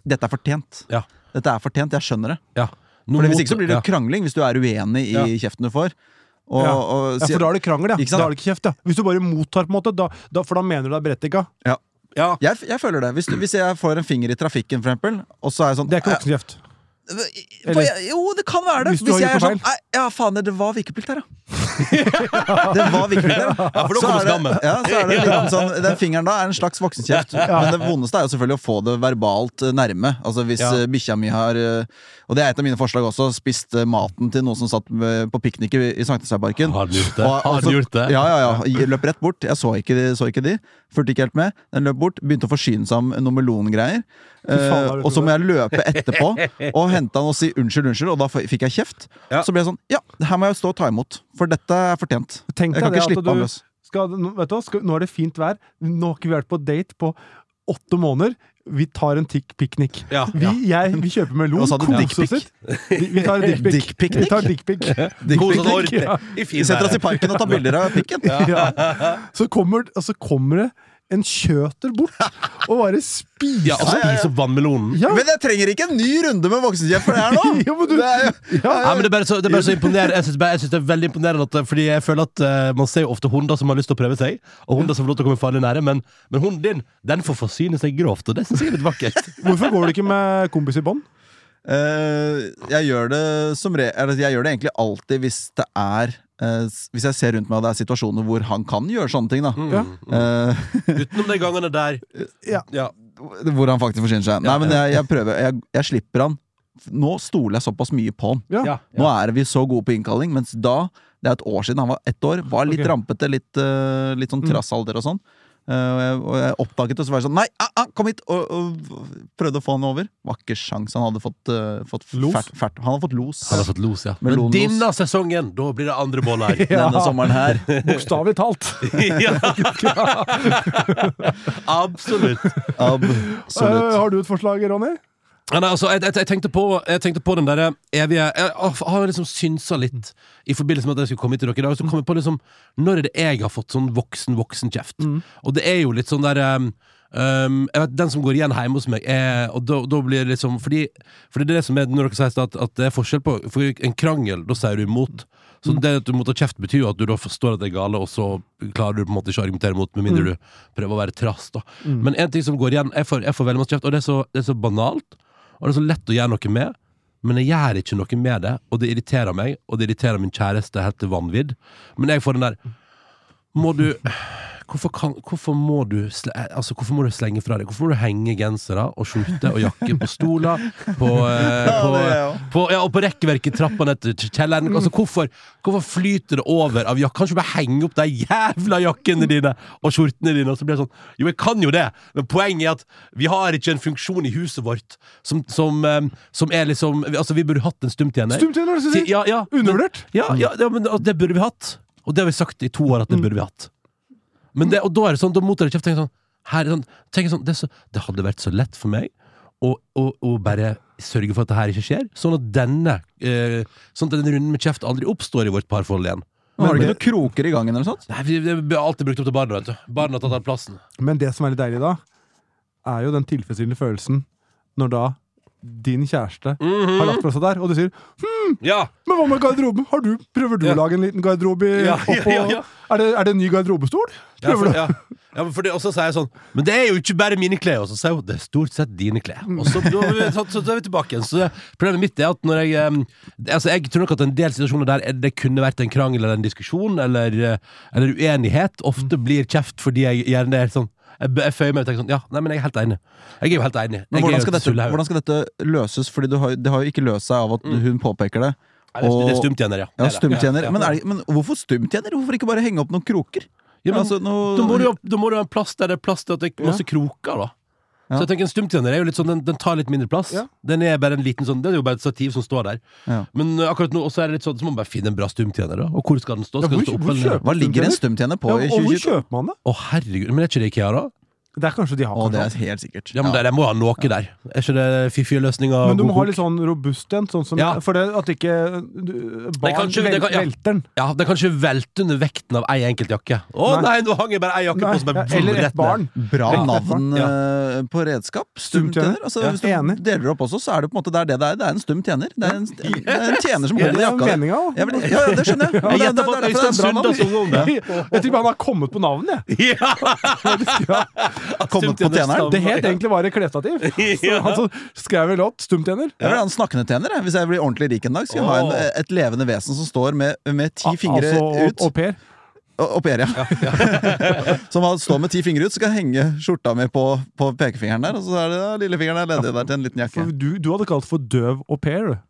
Speaker 2: dette er fortjent.
Speaker 4: Ja.
Speaker 2: Dette er fortjent, jeg skjønner det.
Speaker 4: ja. Nå
Speaker 2: For Hvis
Speaker 4: mot-
Speaker 2: ikke så blir det
Speaker 4: ja.
Speaker 2: krangling hvis du er uenig i
Speaker 4: Ja.
Speaker 2: kjeften du får. Og,
Speaker 3: Ja.
Speaker 2: og
Speaker 3: Ja,
Speaker 2: sier-
Speaker 3: for da er det krangel, ja.
Speaker 2: Ikke sant?
Speaker 3: Da er det ikke kjeft, ja. Hvis du bare mottar, på en måte, da, da, for da mener du det er berettiga.
Speaker 2: Ja.
Speaker 4: Ja.
Speaker 2: Jeg, f- jeg føler det. Hvis, du, hvis jeg får en finger i trafikken, for eksempel, og så er jeg sånn
Speaker 3: Det er ikke
Speaker 2: «Eh,
Speaker 3: voksenkjeft.
Speaker 2: for jeg, Jo, det kan være det!
Speaker 3: Hvis
Speaker 2: Hvis,
Speaker 3: du har
Speaker 2: jeg
Speaker 3: gjort
Speaker 2: er
Speaker 3: noe
Speaker 2: sånn «Nei, Ja, faen, det var vikeplikt her, ja. det var vikeplikt her, ja.
Speaker 4: for
Speaker 2: Så
Speaker 4: da kommer
Speaker 2: er det-
Speaker 4: skammen.
Speaker 2: Ja, så er det liksom sånn, den fingeren da er en slags voksenkjeft. Men det vondeste er jo selvfølgelig å få det verbalt eh, nærme. Altså Hvis
Speaker 4: Ja.
Speaker 2: ja. bikkja mi har eh, Og det er et av mine forslag også. Spist eh, maten til noen som satt eh, på piknik i i Sankthansbergparken.
Speaker 4: Har den gjort det?
Speaker 2: Og-
Speaker 4: Har
Speaker 2: altså-
Speaker 4: den gjort det?
Speaker 2: Ja, ja, ja. Jeg Løp rett bort. Jeg så ikke de. Så ikke de. Fulgte ikke helt med. Den løp bort. Begynte å forsyne seg om noe melongreier.
Speaker 3: faen,
Speaker 2: Eh,
Speaker 3: har du
Speaker 2: og så
Speaker 3: prøvd?
Speaker 2: må jeg løpe etterpå og hente han og si unnskyld, unnskyld, og da f- fikk jeg kjeft.
Speaker 4: Ja.
Speaker 2: Så ble jeg sånn Ja, det her må jeg jo stå og ta imot, for dette er fortjent.
Speaker 3: Tenk
Speaker 2: Jeg
Speaker 3: deg
Speaker 2: kan
Speaker 3: det
Speaker 2: ikke
Speaker 3: at
Speaker 2: slippe
Speaker 3: du
Speaker 2: han altså. løs.
Speaker 3: skal, nå- vet du, hva, skal, Nå er det fint vær. Nå har ikke vi vært på date på åtte måneder. Vi tar en tikk piknik.
Speaker 4: Ja,
Speaker 3: Vi, jeg, vi kjøper melon,
Speaker 2: Og så hadde du
Speaker 3: kos oss
Speaker 2: dickpic.
Speaker 3: litt. Vi vi tar en dickpic.
Speaker 2: Dickpic.
Speaker 3: Vi tar dickpic.
Speaker 4: Kos oss
Speaker 3: pikk,
Speaker 4: ordentlig.
Speaker 3: ja.
Speaker 4: I
Speaker 2: Vi
Speaker 4: fin
Speaker 2: setter oss i
Speaker 4: verden.
Speaker 2: parken og tar bilder av pikken.
Speaker 3: Ja. Så, kommer- og så kommer det en kjøter bort og bare spiser
Speaker 4: Ja, og spis opp vannmelonen.
Speaker 3: Ja.
Speaker 2: altså, Men jeg trenger ikke en ny runde med voksenkjeft for det her nå!
Speaker 3: Jo, men du-
Speaker 2: det er jo
Speaker 4: Ja, men det er bare så, det er bare så imponerende. Jeg synes, bare, jeg synes det er veldig imponerende at, Fordi jeg føler at eh, man ser jo ofte hunder som har lyst til å prøve seg, og hunder som får lov til å komme farlig nære, men, men hunden din den får forsyne seg grovt, og det synes jeg er litt vakkert.
Speaker 3: Hvorfor går du ikke med kompis i bånd?
Speaker 2: Eh, jeg gjør det som re eller, Jeg gjør det egentlig alltid hvis det er eh, s- Hvis jeg ser rundt meg og det er situasjoner hvor han kan gjøre sånne ting. da
Speaker 3: Ja.
Speaker 2: Eh,
Speaker 4: Utenom de gangene der.
Speaker 3: Ja.
Speaker 2: Hvor han faktisk forsyner seg. Nei, men jeg, jeg prøver. Jeg, jeg slipper han. Nå stoler jeg såpass mye på han.
Speaker 3: Ja.
Speaker 4: Ja.
Speaker 2: Nå er vi så gode på innkalling, mens da, det er et år siden han var ett år, var litt
Speaker 3: Ok.
Speaker 2: rampete, litt, eh, litt sånn trassalder og sånn. Eh, og, jeg, og jeg oppdaget det, og så var jeg sånn Nei, ah, ah, kom hit! Og, og prøvde å få han over. Var ikke sjans han hadde fått, eh, fått
Speaker 3: Los?
Speaker 2: Fært, fært. Han hadde fått los.
Speaker 4: Han har fått los, ja. Men
Speaker 2: Melonlos.
Speaker 4: denne sesongen, da blir det andre boller.
Speaker 2: denne sommeren her.
Speaker 3: Bokstavelig talt.
Speaker 4: ja. Absolutt.
Speaker 3: Eh,
Speaker 2: Absolutt.
Speaker 3: har du et forslag, Ronny?
Speaker 4: Ja, nei, altså, jeg, jeg, jeg, tenkte på, jeg tenkte på den derre evige Jeg jeg har liksom synsa litt i forbindelse med at jeg skulle komme hit til dere i dag. Så kom jeg på liksom Når er det jeg har fått sånn voksen-voksen-kjeft? Og det er jo litt sånn der um, Um, jeg vet, Den som går igjen hjemme hos meg, er, og da, da blir det liksom fordi, fordi det er det som er når dere sier i stad at, at det er forskjell på For en krangel, da sier du imot. Så det at du må ta kjeft, betyr jo at du da forstår at det er gale, og så klarer du på en måte ikke å argumentere mot, med mindre du prøver å være trass. da Men en ting som går igjen, jeg får, jeg får veldig masse kjeft, og det er, så, det er så banalt, og det er så lett å gjøre noe med, men jeg gjør ikke noe med det, og det irriterer meg, og det irriterer min kjæreste helt til vanvidd. Men jeg får den der Må du Hvorfor, kan, hvorfor, må du sle, altså, hvorfor må du slenge fra deg? Hvorfor må du henge gensere og skjorte og jakke på stoler? På, eh,
Speaker 2: Ja,
Speaker 4: på,
Speaker 2: det er jeg også.
Speaker 4: på, ja, og på rekkeverket i trappa ned til kjelleren. Altså, hvorfor, hvorfor flyter det over av jakke? Kan ikke du bare henge opp de jævla jakkene dine og skjortene dine? Og så blir det sånn Jo, jeg kan jo det, men poenget er at vi har ikke en funksjon i huset vårt som, som, eh, som er liksom Altså, vi burde hatt en stumtjener.
Speaker 3: Stumt igjen, hva er det du skal si?
Speaker 4: Ja, ja, men-
Speaker 3: Undervurdert.
Speaker 4: ja, ja, ja men det burde vi hatt. Og det har vi sagt i to år at det burde vi hatt. Men det, og da er det sånn, da mottar jeg kjeft. Tenker jeg sånn, her, er sånn, tenker jeg sånn det, er så, det hadde vært så lett for meg å, å, å bare sørge for at det her ikke skjer, sånn at denne eh, Sånn at denne runden med kjeft aldri oppstår i vårt parforhold igjen.
Speaker 2: Men Har du ikke noen kroker i gangen eller noe sånt?
Speaker 4: Nei, vi, vi blir alltid brukt opp til barna. vet du Barna har tatt all plassen.
Speaker 3: Men det som er litt deilig da, er jo den tilfredsstillende følelsen når da din kjæreste
Speaker 4: Mhm.
Speaker 3: har lagt fra seg der, og du sier
Speaker 4: Ja!
Speaker 3: 'Men hva med garderoben? Har du, prøver du
Speaker 4: Ja.
Speaker 3: å lage en liten garderobe i-
Speaker 4: Ja, ja,
Speaker 3: oppå
Speaker 4: ja, ja.
Speaker 3: Er, det, er det en ny garderobestol?
Speaker 4: Ja,
Speaker 3: Prøver du?
Speaker 4: for, ja. Ja, men for det, og så sier jeg sånn Men det er jo ikke bare mine klær. Og så sier hun det er stort sett dine klær. Og så, da, er vi- så, så, da er vi tilbake igjen. Så det- problemet mitt er at når jeg em, det- Altså, jeg tror nok at en del situasjoner der er- det kunne vært en krangel eller en diskusjon eller, eh, eller uenighet, ofte blir kjeft fordi jeg gjerne er sånn Jeg, jeg føyer meg og tenker sånn Ja, nei, men jeg er helt enig. Jeg er jo helt enig.
Speaker 2: Men
Speaker 4: Jeg er
Speaker 2: hvordan
Speaker 4: jo
Speaker 2: skal,
Speaker 4: et
Speaker 2: dette,
Speaker 4: sullehaug.
Speaker 2: hvordan skal dette løses? Fordi du har, det har jo ikke løst seg av at hun påpeker det.
Speaker 4: Mm. Nei, det er- Det er
Speaker 2: og-
Speaker 4: stumtjener, ja.
Speaker 2: Ja,
Speaker 4: Det er det.
Speaker 2: stumtjener.
Speaker 4: Ja, ja.
Speaker 2: Men, er det, men hvorfor stumtjener? Hvorfor ikke bare henge opp noen kroker?
Speaker 4: Ja, men-
Speaker 2: altså, noe-
Speaker 4: Da må du jo da må du ha en plass der det er plass til at det er masse kroker, da.
Speaker 2: Ja.
Speaker 4: Så jeg tenker En stumtjener er jo litt sånn, den, den tar litt mindre plass.
Speaker 3: Ja.
Speaker 4: Den er bare en liten sånn, det er jo bare et stativ som står der.
Speaker 2: Ja.
Speaker 4: Men uh, akkurat nå også er det litt sånn, så må man bare finne en bra stumtjener. da Og hvor skal den
Speaker 3: Ja,
Speaker 4: stå? Skal
Speaker 3: hvor-
Speaker 4: den stå
Speaker 3: hvor
Speaker 4: opp eller ned?
Speaker 3: kjøper-
Speaker 2: Hva ligger en stumtjener på
Speaker 3: Ja,
Speaker 2: i
Speaker 3: og hvor
Speaker 2: 2022?
Speaker 3: kjøper man det?
Speaker 4: Å herregud, Men er ikke det IKEA, da?
Speaker 3: Det er kanskje de har
Speaker 2: Å, det
Speaker 3: kanskje.
Speaker 2: er helt sikkert.
Speaker 4: Ja, men det, det må jo ha noe der. Er ikke det fiffige løsninger?
Speaker 3: Men du må
Speaker 4: god
Speaker 3: ha
Speaker 4: kok?
Speaker 3: litt sånn robust en, sånn som
Speaker 4: Ja.
Speaker 3: For det at ikke øh, du, barn
Speaker 4: kanskje- det
Speaker 3: vel,
Speaker 4: kan- ja.
Speaker 3: velter den.
Speaker 4: Ja, Den kan ikke velte under vekten av ei enkelt jakke. Å
Speaker 3: sånn- Nei.
Speaker 4: nei, nå hang jeg bare ei jakke
Speaker 3: Nei,
Speaker 4: på som
Speaker 3: ja,
Speaker 4: er
Speaker 3: eller et barn.
Speaker 2: Bra
Speaker 3: Ja.
Speaker 2: navn
Speaker 4: Ja.
Speaker 2: eh, på redskap. Stumtjener.
Speaker 3: Stumtjener.
Speaker 2: Altså,
Speaker 3: Ja.
Speaker 2: Hvis du
Speaker 3: Enig.
Speaker 2: deler det opp også, så er det på en måte det er det det er. Det er en stum tjener. Det er en, det er en tjener som
Speaker 3: Det
Speaker 2: holder
Speaker 3: er
Speaker 2: jakka di.
Speaker 3: meninga, da.
Speaker 2: Ja, men- ja, ja, det skjønner jeg. Men
Speaker 4: Jeg
Speaker 2: det-
Speaker 4: gjetter på
Speaker 2: det-
Speaker 4: at
Speaker 2: det er derfor
Speaker 4: Øystein
Speaker 2: det er bra navn.
Speaker 4: Sundaas unge om det.
Speaker 3: Jeg tror ikke han har kommet på navnet, jeg.
Speaker 4: Ja!
Speaker 2: Kommet på tjeneren.
Speaker 3: Det het egentlig var et klesstativ. Så han så skrev en låt, 'Stumtjener'.
Speaker 2: Jeg vil ha en snakkende tjener. jeg. Hvis jeg blir ordentlig rik en dag, skal jeg ha en,
Speaker 4: Åh.
Speaker 2: et levende vesen som står med, med ti
Speaker 3: Al-
Speaker 2: fingre
Speaker 3: altså, og-
Speaker 2: ut.
Speaker 3: Og Per.
Speaker 2: Å- Opp i æret, ja. Som har- står med ti fingre ut, så skal jeg henge skjorta mi på, på pekefingeren der. Og så er det ja, lillefingeren er ledig der til en liten jakke.
Speaker 3: For du, du hadde kalt for døv au pair, du.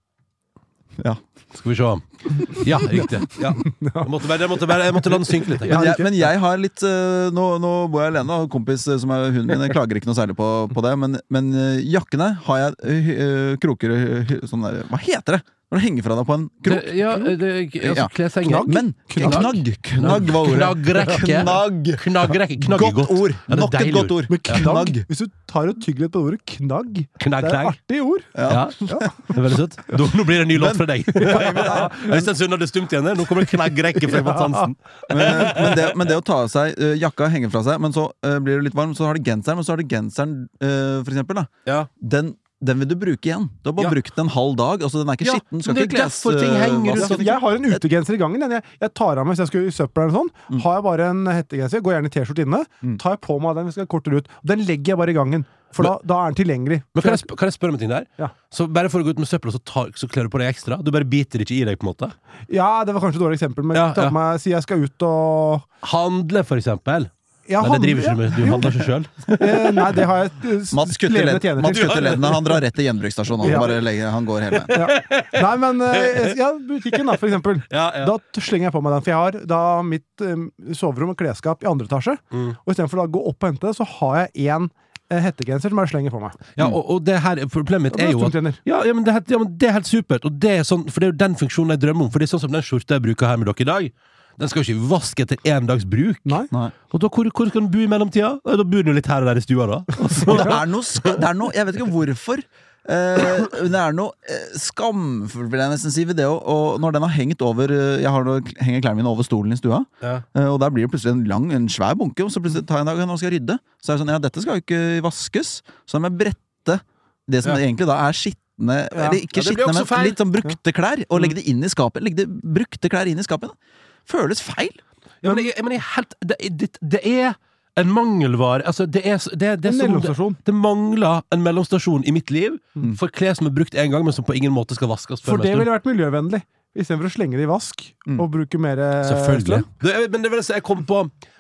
Speaker 2: Ja.
Speaker 4: Skal vi se. Ja, riktig. Ja. Jeg, måtte bare, jeg, måtte bare, jeg måtte la den synke litt.
Speaker 2: Men
Speaker 4: Jeg.
Speaker 2: jeg, men jeg har litt eh, nå, nå bor jeg alene, og en kompis eh, som er hunden min jeg klager ikke noe særlig på, på det. Men, men eh, jakkene har jeg eh, hy- eh, kroker eh, hy- sånn der, Hva heter det når du henger fra deg på en krok?
Speaker 4: Det- Ja, det, altså,
Speaker 2: Ja.
Speaker 4: kleshenger.
Speaker 2: Men
Speaker 4: Knagg.
Speaker 2: knagg. Knagg, var ordet.
Speaker 4: Knaggrekke.
Speaker 2: Knagg.
Speaker 4: Knaggrekke. Knagg er
Speaker 2: Godt
Speaker 4: godt.
Speaker 2: ord.
Speaker 4: Ja, det er
Speaker 2: Nok et
Speaker 4: deilig
Speaker 2: godt ord.
Speaker 3: Men knagg,
Speaker 2: Knagg.
Speaker 3: hvis du tar og tygger litt på ordet knagg Det
Speaker 4: Knagg,
Speaker 3: er et
Speaker 4: knagg.
Speaker 3: artig ord.
Speaker 4: Ja. Det er veldig søtt. Da, nå blir det en ny låt fra deg. Øystein Sunde hadde stumt igjen. eh? Nå kommer det knaggrekke fra Mats Hansen.
Speaker 2: Men, men, det, men det å ta av seg eh, jakka, henge fra seg, men så eh, blir du litt varm, så har du genseren, men så har du genseren, eh, for eksempel, da.
Speaker 4: Ja.
Speaker 2: Den, den vil du bruke igjen. Du har bare
Speaker 4: Ja.
Speaker 2: brukt den en halv dag. Altså, den er ikke
Speaker 4: Ja,
Speaker 2: skitten.
Speaker 4: men
Speaker 2: Skal
Speaker 4: det er
Speaker 2: ikke
Speaker 4: derfor ting henger rundt
Speaker 2: glassvaskes.
Speaker 3: Så Altså, Jeg har en utegenser i gangen. den Jeg, jeg tar av meg hvis jeg skal i søpla. eller sånn.
Speaker 4: Mm.
Speaker 3: Har jeg bare en hettegenser, går gjerne i T-skjorte inne, tar jeg på meg den hvis jeg skal kortere ut. Den legger jeg bare i gangen, for da, da er den tilgjengelig.
Speaker 4: Men kan jeg, sp- kan jeg spørre om en ting der?
Speaker 3: Ja.
Speaker 4: Så bare for å gå ut med søpla, så, tar- så kler du på deg ekstra? Du bare biter ikke i deg, på en måte?
Speaker 3: Ja, det var kanskje et dårlig eksempel, men
Speaker 4: Ja,
Speaker 3: ta
Speaker 4: ja.
Speaker 3: på meg, si jeg skal ut og
Speaker 4: Handle, for eksempel.
Speaker 3: Ja,
Speaker 4: Nei, det
Speaker 3: handle,
Speaker 4: driver ikke
Speaker 3: ja.
Speaker 4: du med. Du handler ikke sjøl.
Speaker 3: Eh, Nei, det har jeg eh, s-
Speaker 2: Mats kutter
Speaker 3: levende
Speaker 2: ledd-
Speaker 3: tjener
Speaker 2: Mats
Speaker 3: til.
Speaker 2: kutter leddene. Han drar rett til gjenbruksstasjonen. Han,
Speaker 3: Ja.
Speaker 2: bare legger, han går hele veien.
Speaker 3: Ja. Nei, men eh, jeg- ja, butikken, da, for eksempel.
Speaker 4: Ja, ja.
Speaker 3: Da t- slenger jeg på meg den, for jeg har da mitt eh, soverom og klesskap i andre etasje.
Speaker 4: Mm.
Speaker 3: Og istedenfor å da gå opp og hente det, så har jeg én eh, hettegenser som jeg slenger på meg.
Speaker 4: Ja, og, og det her, problemet
Speaker 3: Og Mm. det er
Speaker 4: mitt er jo at
Speaker 3: stumtjener.
Speaker 4: ja, ja, men det, er helt- ja, men det er helt supert. Og det er sånn, for det er jo den funksjonen jeg drømmer om. For det er sånn som den skjorta jeg bruker her med dere i dag. Den skal jo ikke vaske etter én dags bruk.
Speaker 3: Nei.
Speaker 2: Nei.
Speaker 4: Og da, hvor, hvor skal den bo i mellomtida? Ja, Da bor den jo litt her og der i stua, da. Og så,
Speaker 2: Det er noe, sk- det er noe, jeg vet ikke hvorfor, Eh, men det er noe eh, skam, vil jeg nesten si, ved det å og Når den har hengt over eh, Jeg har nå kl- henger klærne mine over stolen i stua,
Speaker 4: Ja.
Speaker 2: eh, og der blir det plutselig en lang, en svær bunke, og så plutselig tar jeg en dag og skal rydde. Så er det sånn, ja, dette skal jo ikke vaskes, så da må jeg brette det som
Speaker 4: Ja.
Speaker 2: egentlig da er skitne Eller ikke
Speaker 4: Ja, det blir
Speaker 2: skitne,
Speaker 4: også
Speaker 2: men
Speaker 4: feil. Mm.
Speaker 2: litt sånn brukte klær, og legge det inn i skapet. Legge det, brukte klær inn i skapet. Da. Føles feil.
Speaker 4: Ja, men jeg, jeg, men jeg er helt, det, er- det, det er en mangelvare. Altså, det, er, så- det, det,
Speaker 3: En
Speaker 4: er som om det,
Speaker 3: mellomstasjon. Mm.
Speaker 4: det mangler en mellomstasjon i mitt liv for klær som er brukt én gang, men som på ingen måte skal vaskes.
Speaker 3: For
Speaker 4: før med en
Speaker 3: det
Speaker 4: stund.
Speaker 3: ville vært miljøvennlig. Istedenfor å slenge det i vask
Speaker 2: Mm.
Speaker 3: og bruke mer eh,
Speaker 4: Selvfølgelig.
Speaker 3: strøm.
Speaker 4: Det, jeg- men det vil si, jeg kom på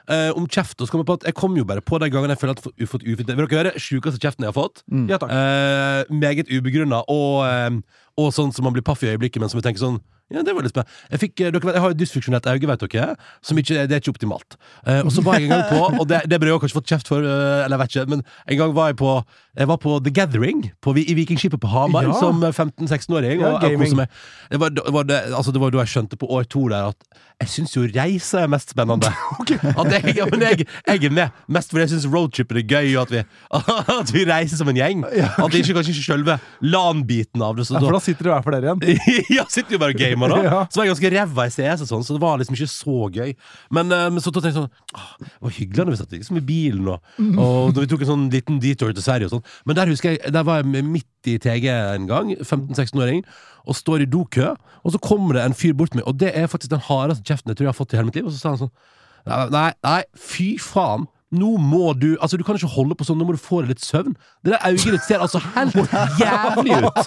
Speaker 4: eh, om kjeft, og så kom jeg på at jeg kom jo bare på den gangen jeg føler at jeg har fått ufint. Vil dere høre sjukeste kjeften jeg har fått?
Speaker 3: Ja takk.
Speaker 4: Eh, meget ubegrunna, og, eh, og sånn som man blir paff i øyeblikket, men som jeg tenker sånn ja, det var litt spennende. Jeg, fikk, eh, dere, vet- jeg har jo dysfunksjonelt auge, vet dere. Som ikke, det er ikke optimalt. Eh, og så var jeg en gang på, og det, det burde jeg også kanskje fått kjeft for, eh, eller jeg vet ikke, men en gang var jeg på Jeg var på The Gathering på, Vi- i Vikingskipet på Hamar
Speaker 3: Ja.
Speaker 4: som 15-16-åring.
Speaker 3: Ja,
Speaker 4: og jeg
Speaker 3: gaming.
Speaker 4: koset meg. Det var, det, var det, altså det var da jeg skjønte på år to der at jeg syns jo reise er mest spennende. At jeg, ja, men jeg, jeg er med mest fordi jeg syns roadtrip er gøy, og at vi, at vi reiser som en gjeng. At det ikke kanskje ikke selve LAN-biten av det. Så
Speaker 3: Ja, for
Speaker 4: da
Speaker 3: da sitter det hver for dere igjen.
Speaker 4: ja, sitter jo bare og gamer, da.
Speaker 3: Ja.
Speaker 4: Så var jeg ganske ræva i CS, og sånn, så det var liksom ikke så gøy. Men eh, men så tenkte jeg sånn «Åh, Det var hyggelig når vi satt liksom i bilen, og, og da vi tok en sånn liten detour til Sverige og sånn. Men der husker jeg, der var jeg midt i TG en gang, 15-16-åring, og står i dokø, og så kommer det en fyr bort til meg, og det er faktisk den hardeste kjeften jeg tror jeg har fått i hele mitt liv, og så sa han sånn Nei, nei, nei, fy faen. Nå må du Altså, du kan ikke holde på sånn. Nå må du få deg litt søvn. Det der øyet ditt ser altså helt jævlig ut.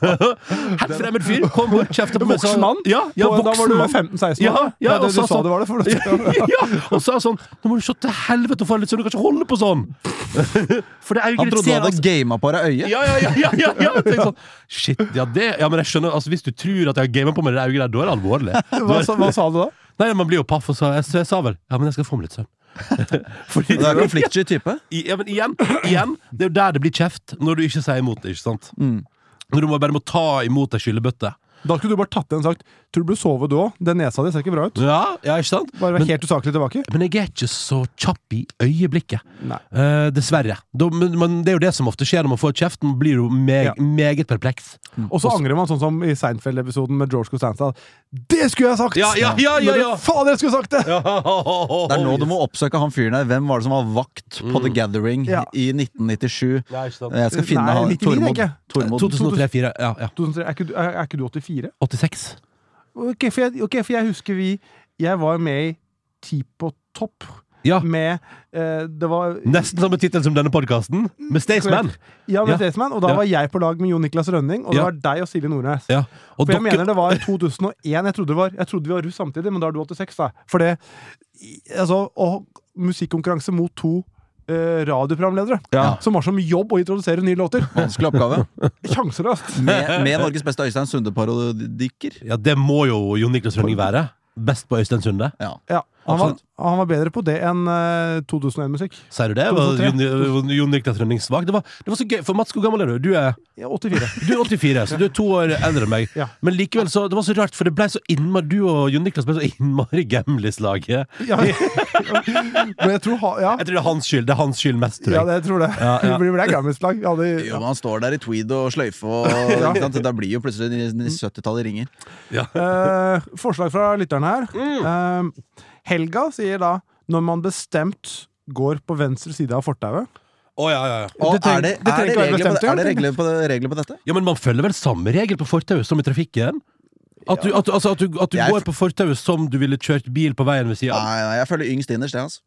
Speaker 4: Helt fremmed fyr. Kom bort, kjefta på meg. sa-
Speaker 3: Voksen mann?
Speaker 4: Ja, ja,
Speaker 3: Og da var
Speaker 4: voksen
Speaker 3: du
Speaker 4: mann.
Speaker 3: 15-16 år?
Speaker 4: Ja, ja,
Speaker 3: Nei,
Speaker 4: og
Speaker 3: det, du
Speaker 4: så-
Speaker 3: sa det var det, for det.
Speaker 4: ja, og så er han sånn Nå må du se til helvete og få deg litt søvn. Du kan ikke holde på sånn. For det øyet
Speaker 2: Han
Speaker 4: ditt
Speaker 2: trodde du
Speaker 4: ser
Speaker 2: hadde
Speaker 4: altså
Speaker 2: gama på deg øyet.
Speaker 4: ja, ja, ja, ja, ja, ja. Jeg tenkte Sånn, Shit, ja, det Ja, men jeg skjønner Altså, hvis du tror at jeg har gamet på meg det øyet der, da er det alvorlig. Da
Speaker 3: Hva,
Speaker 4: er-
Speaker 3: sa- hva sa du da?
Speaker 4: Nei, man blir jo paff, og så jeg, så jeg sa vel Ja, men jeg skal få meg litt søvn. Fordi
Speaker 2: Du er konfliktsky type.
Speaker 4: I, ja, men igjen, igjen, det er jo der det blir kjeft, når du ikke sier imot det. ikke sant? Når du må bare må ta imot ei skyllebøtte.
Speaker 3: Da skulle du bare tatt igjen og sagt 'Tror du burde sove du òg'. Den nesa di ser ikke bra ut.
Speaker 4: Ja, ja, ikke sant?
Speaker 3: Bare vær
Speaker 4: Men,
Speaker 3: helt usaklig tilbake.
Speaker 4: men jeg er ikke så kjapp i øyeblikket.
Speaker 3: Nei.
Speaker 4: Eh, dessverre. Da, men, men det er jo det som ofte skjer når man får kjeft. Man blir jo meg,
Speaker 3: Ja.
Speaker 4: meget perpleks.
Speaker 3: Og så
Speaker 4: Også-
Speaker 3: angrer man, sånn som i Seinfeld-episoden med George Costanza. 'Det skulle jeg sagt!'
Speaker 4: Ja, ja, ja, ja,
Speaker 3: Men
Speaker 4: ja.
Speaker 3: Fader, jeg skulle sagt det!
Speaker 2: Det er nå du må oppsøke han fyren der. Hvem var det som var vakt på The Gathering
Speaker 3: Ja.
Speaker 2: i 1997?
Speaker 4: Nei, Mm. ikke sant.
Speaker 2: Jeg skal finne
Speaker 3: Nei,
Speaker 2: han
Speaker 3: 99,
Speaker 2: Tormod.
Speaker 3: tenker jeg.
Speaker 2: Tormod.
Speaker 4: 2003-2004. Ja, ja.
Speaker 3: 2003, er, ikke du, er, er ikke du 84?
Speaker 4: 86.
Speaker 3: Ok, for jeg, ok, for jeg husker vi Jeg var med i Ti på topp
Speaker 4: Ja.
Speaker 3: med eh, Det var
Speaker 4: Nesten samme tittel som denne podkasten, med Staysman.
Speaker 3: Ja, med
Speaker 4: Ja.
Speaker 3: Staysman, og da
Speaker 4: Ja.
Speaker 3: var jeg på lag med Jon Niklas Rønning, og det
Speaker 4: Ja.
Speaker 3: var deg og Silje Nordnes.
Speaker 4: Ja. Og
Speaker 3: For jeg
Speaker 4: dere-
Speaker 3: mener det var 2001. Jeg trodde, det var, jeg trodde vi var russ samtidig, men da er du 86, da. For det i- Altså, og musikkonkurranse mot to eh, radioprogramledere
Speaker 2: Ja.
Speaker 3: som har som jobb å introdusere nye låter.
Speaker 2: Vanskelig oppgave.
Speaker 3: Sjanseløst!
Speaker 2: Med, med Norges beste Øystein Sunde-parodikker.
Speaker 4: ja, det må jo Jon Niklas Rønning være. Best på Øystein Sunde.
Speaker 2: Ja.
Speaker 3: Ja, han var,
Speaker 4: Absolutt.
Speaker 3: han var bedre på det enn eh, 2001-musikk.
Speaker 4: Sier du det? Var
Speaker 3: 2003.
Speaker 4: Jon, var Jon Niklas Rønning svak? Det var, det var så gøy, for Mats, hvor gammel er du? Du er,
Speaker 3: Ja, 84.
Speaker 4: du er 84, så du er to år eldre enn meg.
Speaker 3: Ja.
Speaker 4: Men likevel, så, det var så rart, for det ble så innmari, du og Jon Niklas ble så innmari gamlis-lag. Jeg
Speaker 3: Ja. Men jeg tror ha, ja.
Speaker 4: tror det er hans skyld. Det er hans skyld mest, tror
Speaker 3: ja,
Speaker 4: jeg.
Speaker 3: det, jeg tror det.
Speaker 4: Ja, ja.
Speaker 3: Vi blir vel gammelslag. Ja, det,
Speaker 2: Jo, men han står der i tweed og sløyfe, og
Speaker 3: Ja.
Speaker 2: ikke sant? da blir jo plutselig 70-tallet ringer.
Speaker 3: Eh, forslag fra lytterne her. Eh, Helga sier da når man bestemt går på venstre side av fortauet.
Speaker 4: Å, ja, ja, ja.
Speaker 2: Og
Speaker 3: Det treng-
Speaker 2: er det,
Speaker 3: det trenger
Speaker 2: er det,
Speaker 3: ikke være
Speaker 2: regler, på,
Speaker 3: bestemt, ja.
Speaker 2: er det regler, på, regler på dette?
Speaker 4: ja, men man følger vel samme regel på fortauet som i trafikken? At du, at, du- altså, at du, at du
Speaker 2: Jeg-
Speaker 4: går på fortauet som du ville kjørt bil på veien ved sida av?
Speaker 2: Nei, nei, jeg føler yngst innerst, jeg, altså.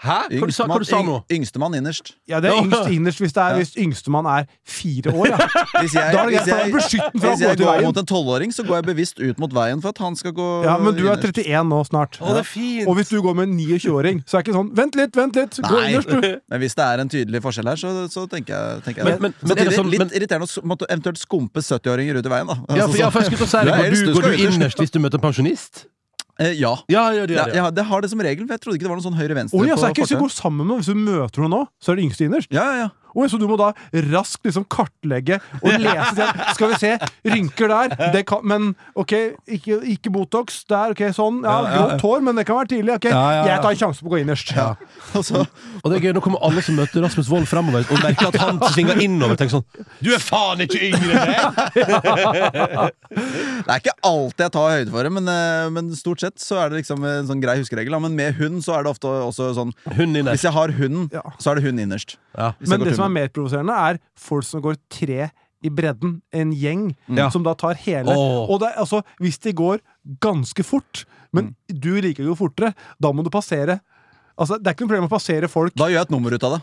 Speaker 4: Hæ? Hva du sa hva du sa nå?
Speaker 2: yng- yngstemann innerst.
Speaker 3: Ja, det er
Speaker 4: Ja.
Speaker 3: yngst innerst hvis, det er,
Speaker 2: Ja.
Speaker 3: hvis yngstemann er fire år. Ja.
Speaker 2: Hvis jeg,
Speaker 3: Da er det
Speaker 2: hvis
Speaker 3: greit å
Speaker 2: jeg,
Speaker 3: beskytte den fra
Speaker 2: hvis
Speaker 3: å gå
Speaker 2: jeg
Speaker 3: til
Speaker 2: går
Speaker 3: veien.
Speaker 2: mot en tolvåring, så går jeg bevisst ut mot veien for at han skal gå
Speaker 3: Ja, men du er
Speaker 2: innerst.
Speaker 3: 31 nå snart.
Speaker 4: Å, det er fint!
Speaker 3: Og hvis du går med en 29-åring, så er det ikke sånn 'vent litt, vent litt', gå
Speaker 2: Nei.
Speaker 3: innerst, du.
Speaker 2: Men hvis det er en tydelig forskjell her, så, så tenker jeg, tenker jeg det.
Speaker 4: Men- men- men er det
Speaker 2: Samtidig
Speaker 4: sånn-
Speaker 2: litt
Speaker 4: men-
Speaker 2: irriterende å s- måtte eventuelt skumpe 70-åringer ut i veien, da. Altså,
Speaker 4: Ja, for, ja, for jeg skulle til å si
Speaker 2: Du
Speaker 4: det.
Speaker 2: er
Speaker 4: Går
Speaker 2: eldst,
Speaker 4: du,
Speaker 2: du
Speaker 4: går
Speaker 2: skal
Speaker 4: du
Speaker 2: ytterst.
Speaker 4: innerst hvis du møter en pensjonist?
Speaker 2: Eh, ja.
Speaker 4: Ja, ja, det
Speaker 2: Det,
Speaker 4: gjør det,
Speaker 2: jeg, har- det har det som regel, for jeg trodde ikke det var noe sånn høyre-venstre.
Speaker 3: Oi, altså, er
Speaker 2: på
Speaker 3: ikke, hvis du
Speaker 2: fortauet.
Speaker 3: går sammen med Hvis du møter noen nå, så er det yngste innerst.
Speaker 2: ja, ja, ja.
Speaker 3: Oi, så du må da raskt liksom kartlegge og lese selv. Skal vi se, rynker der det kan, Men ok, ikke, ikke Botox der. ok, Sånn. Ja,
Speaker 2: Ja, ja, ja.
Speaker 3: Grått hår, men det kan være tidlig. ok,
Speaker 2: Ja, ja, ja.
Speaker 3: Jeg tar en sjanse på å gå innerst.
Speaker 2: Og så
Speaker 4: Og det er gøy, Nå kommer alle som møter Rasmus Wold fremover og merker at han svinger innover. og Tenker sånn Du er faen ikke yngre enn meg!
Speaker 2: Det er ikke alltid jeg tar høyde for det, men, eh, men stort sett så er det liksom en sånn grei huskeregel. da. Men med hund så er det ofte også sånn
Speaker 4: Hun din
Speaker 2: Hvis
Speaker 4: der.
Speaker 2: jeg har hunden,
Speaker 3: Ja.
Speaker 2: så er det hun innerst.
Speaker 4: Ja.
Speaker 2: Hvis jeg
Speaker 3: Men
Speaker 2: går
Speaker 3: det som
Speaker 2: tur
Speaker 3: er
Speaker 2: med-
Speaker 3: mer provoserende, er folk som går tre i bredden. En gjeng
Speaker 2: Mm.
Speaker 4: Ja.
Speaker 3: som da tar hele.
Speaker 4: Åh.
Speaker 3: Og det, er- altså, hvis de går ganske fort, men
Speaker 2: Mm.
Speaker 3: du liker å gå fortere, da må du passere. Altså, Det er ikke noe problem å passere folk.
Speaker 2: Da gjør jeg et nummer ut av det.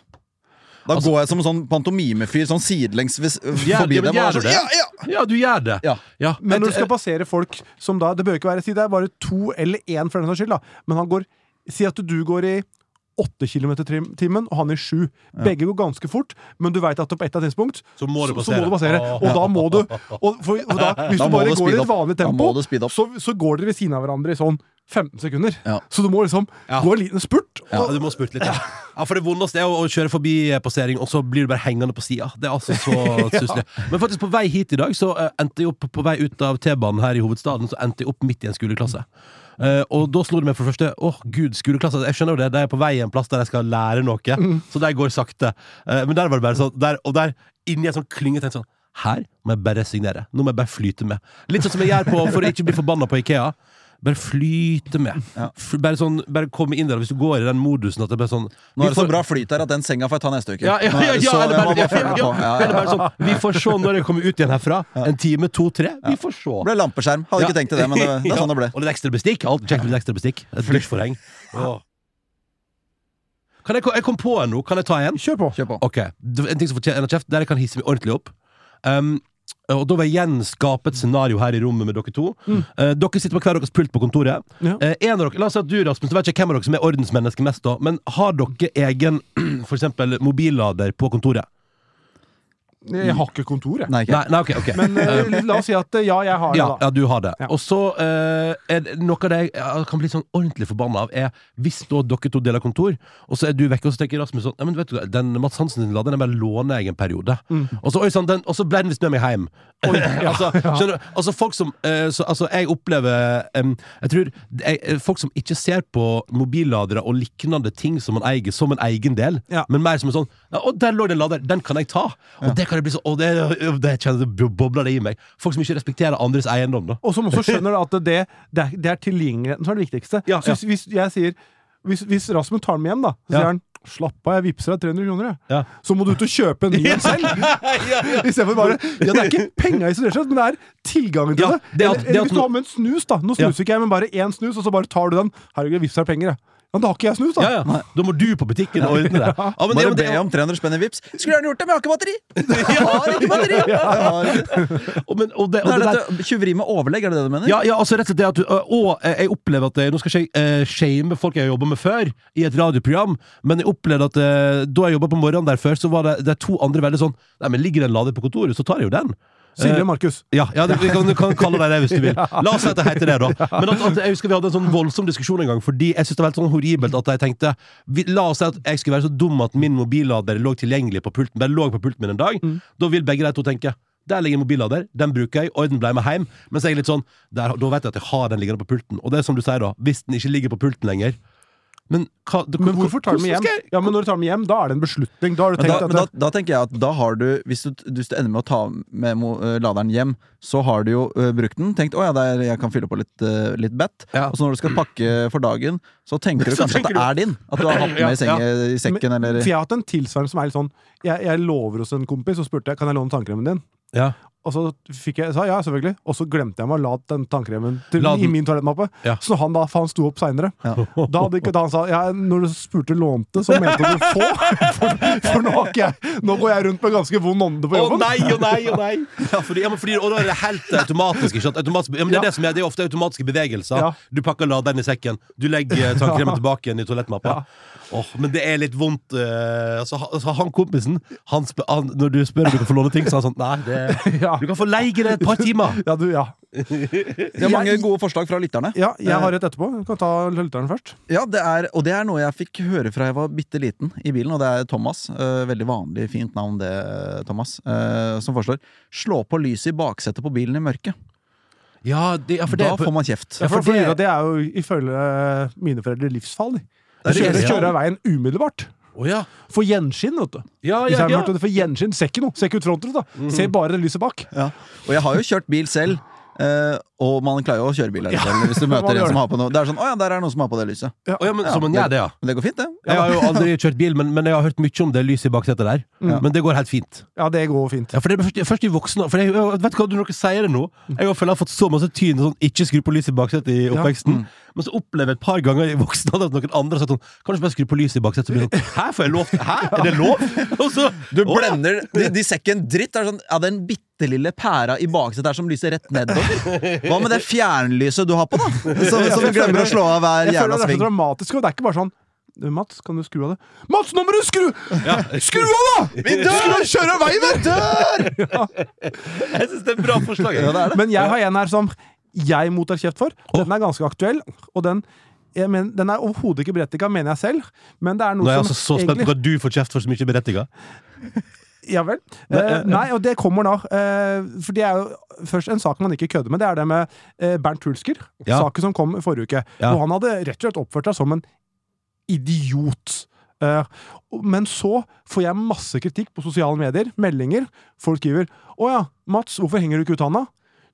Speaker 2: Da
Speaker 4: Altså-
Speaker 2: går jeg som en sånn pantomimefyr sånn sidelengs hvis,
Speaker 4: Ja,
Speaker 2: forbi
Speaker 4: ja, men
Speaker 2: dem. og
Speaker 4: gjør
Speaker 2: er
Speaker 4: du
Speaker 2: sånn,
Speaker 4: det?
Speaker 2: ja, ja.
Speaker 4: ja, du gjør det.
Speaker 2: Ja.
Speaker 3: Men når du
Speaker 4: Et- eh,
Speaker 3: skal passere folk som da Det bør ikke være si det er bare to eller én, for den saks skyld, da. Men han går Si at du går i åtte kilometer trim- timen, og han i sju. Begge går ganske fort, men du veit at på et eller annet tidspunkt
Speaker 4: Så må du
Speaker 3: så,
Speaker 4: passere. Ah.
Speaker 3: så må du passere. Og da må du og for, for da, Hvis
Speaker 2: Da
Speaker 3: du
Speaker 2: må
Speaker 3: bare
Speaker 2: du
Speaker 3: går i
Speaker 2: speede
Speaker 3: et
Speaker 2: opp.
Speaker 3: vanlig
Speaker 2: Da
Speaker 3: tempo,
Speaker 2: må du speede opp.
Speaker 3: så, så går dere ved siden av hverandre i sånn 15 sekunder.
Speaker 2: Ja.
Speaker 3: Så du må liksom
Speaker 4: Ja.
Speaker 3: gå en liten spurt.
Speaker 4: Ja,
Speaker 3: Og,
Speaker 4: du må spurte litt. Ja. ja, For det vondeste er å, å kjøre forbi eh, passering, og så blir du bare hengende på sida. Det er altså så stusslig. Men faktisk, på vei hit i dag, så eh, endte jeg opp på vei ut av T-banen her i hovedstaden, så endte jeg opp midt i en skoleklasse. Eh, og da slo det meg for det første Åh, gud, skoleklasse. Jeg skjønner jo det, de er på vei en plass der de skal lære noe,
Speaker 3: Mm.
Speaker 4: så de går sakte. Eh, men der var det bare sånn der, Og der, inni en sånn klynge, tenkte jeg sånn Her må jeg bare resignere. Nå må jeg bare flyte med. Litt sånn som jeg gjør på for å ikke bli forbanna på Ikea. Bare flyte med. F- Bare, sånn, bare komme inn der. Hvis du går i den modusen at det blir sånn
Speaker 2: Nå er
Speaker 4: vi
Speaker 2: det så
Speaker 4: får-
Speaker 2: bra flyt her at den senga får jeg ta neste uke.
Speaker 4: ja, ja,
Speaker 2: Nå er
Speaker 4: ja,
Speaker 2: det
Speaker 4: ja,
Speaker 2: så-
Speaker 4: eller
Speaker 2: jeg må
Speaker 4: bare, ja,
Speaker 2: bare følge med
Speaker 4: ja,
Speaker 2: på. Ja, ja,
Speaker 4: eller bare sånn Vi får se når jeg kommer ut igjen herfra. En time, to, tre. Vi får se.
Speaker 2: Det ble lampeskjerm. Hadde ikke tenkt til det, men det, det er sånn det ble.
Speaker 4: Og litt ekstra bestikk. Alt kjekt med litt ekstra bestikk. Et dusjforheng. Åh. Kan jeg, ko- jeg kom på en nå. Kan jeg ta en?
Speaker 3: kjør på.
Speaker 2: Kjør på.
Speaker 4: Ok, det var en ting som fortjener en kjeft Der jeg kan hisse meg ordentlig opp um, Og da vil jeg gjenskape et scenario her i rommet med dere to Eh, Dere sitter på hver deres pult på kontoret
Speaker 3: Mm. Ja.
Speaker 4: Eh, En av dere, la oss si at du Rasmus Jeg vet ikke hvem av dere som er ordensmenneske mest da Men har dere egen, for eksempel mobillader på kontoret?
Speaker 3: Jeg har ikke kontor, jeg.
Speaker 2: Nei, ikke.
Speaker 4: Nei, nei, ok, ok
Speaker 3: Men eh, la oss si at eh, ja, jeg har det,
Speaker 4: ja,
Speaker 3: da.
Speaker 4: ja, du har det.
Speaker 3: Ja.
Speaker 4: Og så eh, er det noe av det jeg eh, kan bli sånn ordentlig forbanna av, er hvis da dere to deler kontor, og så er du vekke, og så tenker Rasmus sånn Nei, men vet du hva, den Mats Hansen sin lader, den bare låner jeg en periode.
Speaker 3: Mm.
Speaker 4: Og så oi sann, den- og så ble den visst med meg hjem. altså, skjønner du? Altså, folk som eh, så, Altså, jeg opplever em, Jeg tror jeg, eh, folk som ikke ser på mobilladere og lignende ting som man eier, som en egen del,
Speaker 3: Ja.
Speaker 4: men mer som en sånn ja, Å, der lå det en lader, den kan jeg ta! Og det kan jeg bli så, og det, og det kjenner jeg det bobler det i meg. Folk som ikke respekterer andres eiendom, da.
Speaker 3: Og som også skjønner da at det, det, er, det er tilgjengeligheten som er det viktigste.
Speaker 4: Ja,
Speaker 3: så hvis, hvis jeg sier hvis, hvis Rasmus tar den med hjem, da, så
Speaker 4: Ja.
Speaker 3: sier han Slapp av, jeg vippser deg 300 kroner, jeg.
Speaker 4: Ja.
Speaker 3: Så må du ut og kjøpe en ny en selv! Istedenfor bare Ja, det er ikke penga isolert sett, men det er tilgangen til
Speaker 4: Ja,
Speaker 3: det.
Speaker 4: det at-
Speaker 3: eller,
Speaker 4: det
Speaker 3: eller
Speaker 4: at
Speaker 3: hvis du
Speaker 4: no-
Speaker 3: har med en snus, da. Nå
Speaker 4: Ja.
Speaker 3: snuser ikke jeg, men bare én snus, og så bare tar du den. Herregud, vips deg penger, jeg. Ja, men da har ikke jeg snus, da.
Speaker 4: Ja, ja. Da må du på butikken og ordne det. Ja, men det-
Speaker 2: Bare
Speaker 4: men det-
Speaker 2: be om 300 spenn i vips. Skulle gjerne gjort det, men jeg har ikke batteri! Jeg har ikke batteri! Jeg har ikke.
Speaker 4: og- men- og
Speaker 2: Det
Speaker 4: det- og det
Speaker 2: er
Speaker 4: der-
Speaker 2: dette Tjuveri med overlegg, er det det du mener?
Speaker 4: Ja, ja, altså rett og slett det at du, og eh, jeg opplever at jeg, Nå skal ikke jeg eh, shame folk jeg har jobba med før, i et radioprogram, men jeg opplevde at eh, da jeg jobba på morgenen der før, så var det, det er to andre veldig sånn Nei, men ligger det en lader på kontoret, så tar jeg jo den.
Speaker 3: Silje
Speaker 4: Eh,
Speaker 3: og Markus.
Speaker 4: ja, ja du, du, kan, du kan kalle deg det hvis du vil. La oss si at det heter det, da. Men at, at jeg husker Vi hadde en sånn voldsom diskusjon en gang, fordi jeg syntes det var helt sånn horribelt at jeg tenkte vi, La oss si at jeg skulle være så dum at min mobillader lå tilgjengelig på pulten. Den lå på pulten min en dag.
Speaker 3: Mm.
Speaker 4: Da vil begge de to tenke der ligger en mobillader, den bruker jeg, og den ble med hjem. Mens jeg er litt sånn der, Da vet jeg at jeg har den liggende på pulten. Og det er som du sier, da. Hvis den ikke ligger på pulten lenger Men, hva,
Speaker 3: Men hvorfor tar du
Speaker 4: hvordan
Speaker 3: med hjem?
Speaker 4: skal jeg-
Speaker 3: Ja, men når du tar med hjem, da er det en beslutning. Da har du
Speaker 2: Men, da,
Speaker 3: tenkt
Speaker 2: men da,
Speaker 3: at
Speaker 2: da tenker jeg at da har du Hvis du, hvis du ender med å ta med mo- eh, laderen hjem, så har du jo eh, brukt den. Tenkt å ja, der, jeg kan fylle på litt, uh, litt bett.
Speaker 4: Ja.
Speaker 2: Og så når du skal pakke for dagen, så tenker du
Speaker 4: Så
Speaker 2: kanskje
Speaker 4: tenker
Speaker 2: at det er din. At du har hatt den med i,
Speaker 4: Ja,
Speaker 2: senge, i sekken
Speaker 3: Men-
Speaker 2: eller
Speaker 3: For jeg har hatt en tilsvarende som er litt sånn Jeg, jeg lover hos en kompis, og spurte jeg kan jeg låne tannkremen din.
Speaker 4: Ja.
Speaker 3: Og så fikk jeg, sa ja, selvfølgelig. Og så glemte jeg meg å la den tannkremen til,
Speaker 4: La den-
Speaker 3: i min toalettmappe.
Speaker 4: Ja.
Speaker 3: Så når han da, for han sto opp seinere. Da hadde ikke da han sa ja, når du spurte lånte, så mente du få. For, for nå, har ikke jeg, nå går jeg rundt med ganske vond ånde på
Speaker 4: Å
Speaker 3: jobben.
Speaker 4: nei, å nei, å nei! Ja, fordi, ja, men fordi, og da er det helt automatisk. Ikke sant? Automatisk, ja, men det, er
Speaker 3: Ja.
Speaker 4: det, som er, det er ofte automatiske bevegelser.
Speaker 3: Ja.
Speaker 4: Du pakker laderen i sekken, du legger tannkremen
Speaker 3: Ja.
Speaker 4: tilbake igjen i toalettmappa. Åh, men det er litt vondt. eh, altså, han- altså, han kompisen han spør, han, Når du spør om du kan få låne ting, så er han sånn Nei, det,
Speaker 3: Ja.
Speaker 4: Du kan få leie det et par timer.
Speaker 3: Ja, du, ja.
Speaker 2: Det er mange gode forslag fra lytterne.
Speaker 3: ja, jeg har et etterpå. Du kan ta lytteren først.
Speaker 2: Ja, det er, Og det er noe jeg fikk høre fra jeg var bitte liten i bilen, og det er Thomas. Eh, veldig vanlig, fint navn det, Thomas. eh, som foreslår slå på lyset i baksetet på bilen i mørket.
Speaker 4: Ja, det, ja for det
Speaker 2: da får man kjeft.
Speaker 3: Ja, for,
Speaker 4: for
Speaker 3: for
Speaker 4: det-
Speaker 3: Ida, det er jo ifølge mine foreldre livsfarlig.
Speaker 2: Det
Speaker 4: er det
Speaker 3: Kjører,
Speaker 4: eneste, ja.
Speaker 3: kjører av veien umiddelbart.
Speaker 4: Å, ja.
Speaker 3: Får gjenskinn, vet du.
Speaker 4: Ja,
Speaker 3: Hvis jeg
Speaker 4: ja,
Speaker 3: har
Speaker 4: ja. Mhm.
Speaker 3: hørt det, får gjenskinn. Ser ikke noe. Ser ikke ut frontruta. Ser bare det lyset bak.
Speaker 2: Ja. Og jeg har jo kjørt bil selv, eh, og man klarer jo å kjøre bil her selv hvis du
Speaker 3: man
Speaker 2: møter
Speaker 3: gjør
Speaker 2: en som har på noe. Det er sånn 'Å ja, der er det noen som har på det lyset'.
Speaker 4: Å, ja, men, så man gjør det, ja.
Speaker 2: Men det går fint, det.
Speaker 4: Jeg har jo aldri kjørt bil, men, men jeg har hørt mye om det lyset i baksetet der. Men det går helt fint.
Speaker 3: Ja, det går fint.
Speaker 4: Ja, for det er først, først i voksen For jeg, jeg- vet du hva, når dere sier det nå Jeg har følt jeg har fått så masse tyn sånn, Ikke skru på lyset i baksetet i
Speaker 3: Mm.
Speaker 4: oppveksten Men så opplever jeg et par ganger i voksen alder At noen andre har sagt sånn Kan du ikke bare skru på lyset i baksetet? Så blir det sånn Hæ, får jeg lov? til- Hæ, er det lov? Og så
Speaker 2: Du
Speaker 4: Å, ja.
Speaker 2: blender De, de ser ikke en dritt. Det er sånn, ja, den bitte lille pæra i baksetet her som lyser rett nedover. Hva med det fjernlyset du har på, da? Som, som du glemmer å slå av hver
Speaker 3: Jeg føler
Speaker 2: jævla
Speaker 3: det er så
Speaker 2: sving.
Speaker 3: dramatisk, og det er ikke bare sånn «Du, Mats, kan du skru av det? Mats, nå må du skru! Skru av, da! Vi dør! Kjør av veien, vet
Speaker 4: Jeg synes det er et bra forslag jeg.
Speaker 2: Ja, det er det.
Speaker 3: Men jeg har en her som jeg mottar kjeft for. Den er ganske aktuell, og den jeg mener, den er overhodet ikke berettiget, mener jeg selv, men det er
Speaker 4: Nå
Speaker 3: noe
Speaker 4: er jeg altså så
Speaker 3: som Mm.
Speaker 4: spent på hva du får kjeft for som ikke er berettiget
Speaker 3: Ja vel. Eh, nei, og det kommer da. Eh, for det er jo først en sak man ikke kødder med. Det er det med eh, Bernt Hulsker.
Speaker 4: Ja.
Speaker 3: Saken som kom forrige uke.
Speaker 4: Ja.
Speaker 3: Og han hadde rett og slett oppført seg som en idiot. Eh, og- men så får jeg masse kritikk på sosiale medier. Meldinger. Folk skriver 'Å ja, Mats, hvorfor henger du ikke ut handa?'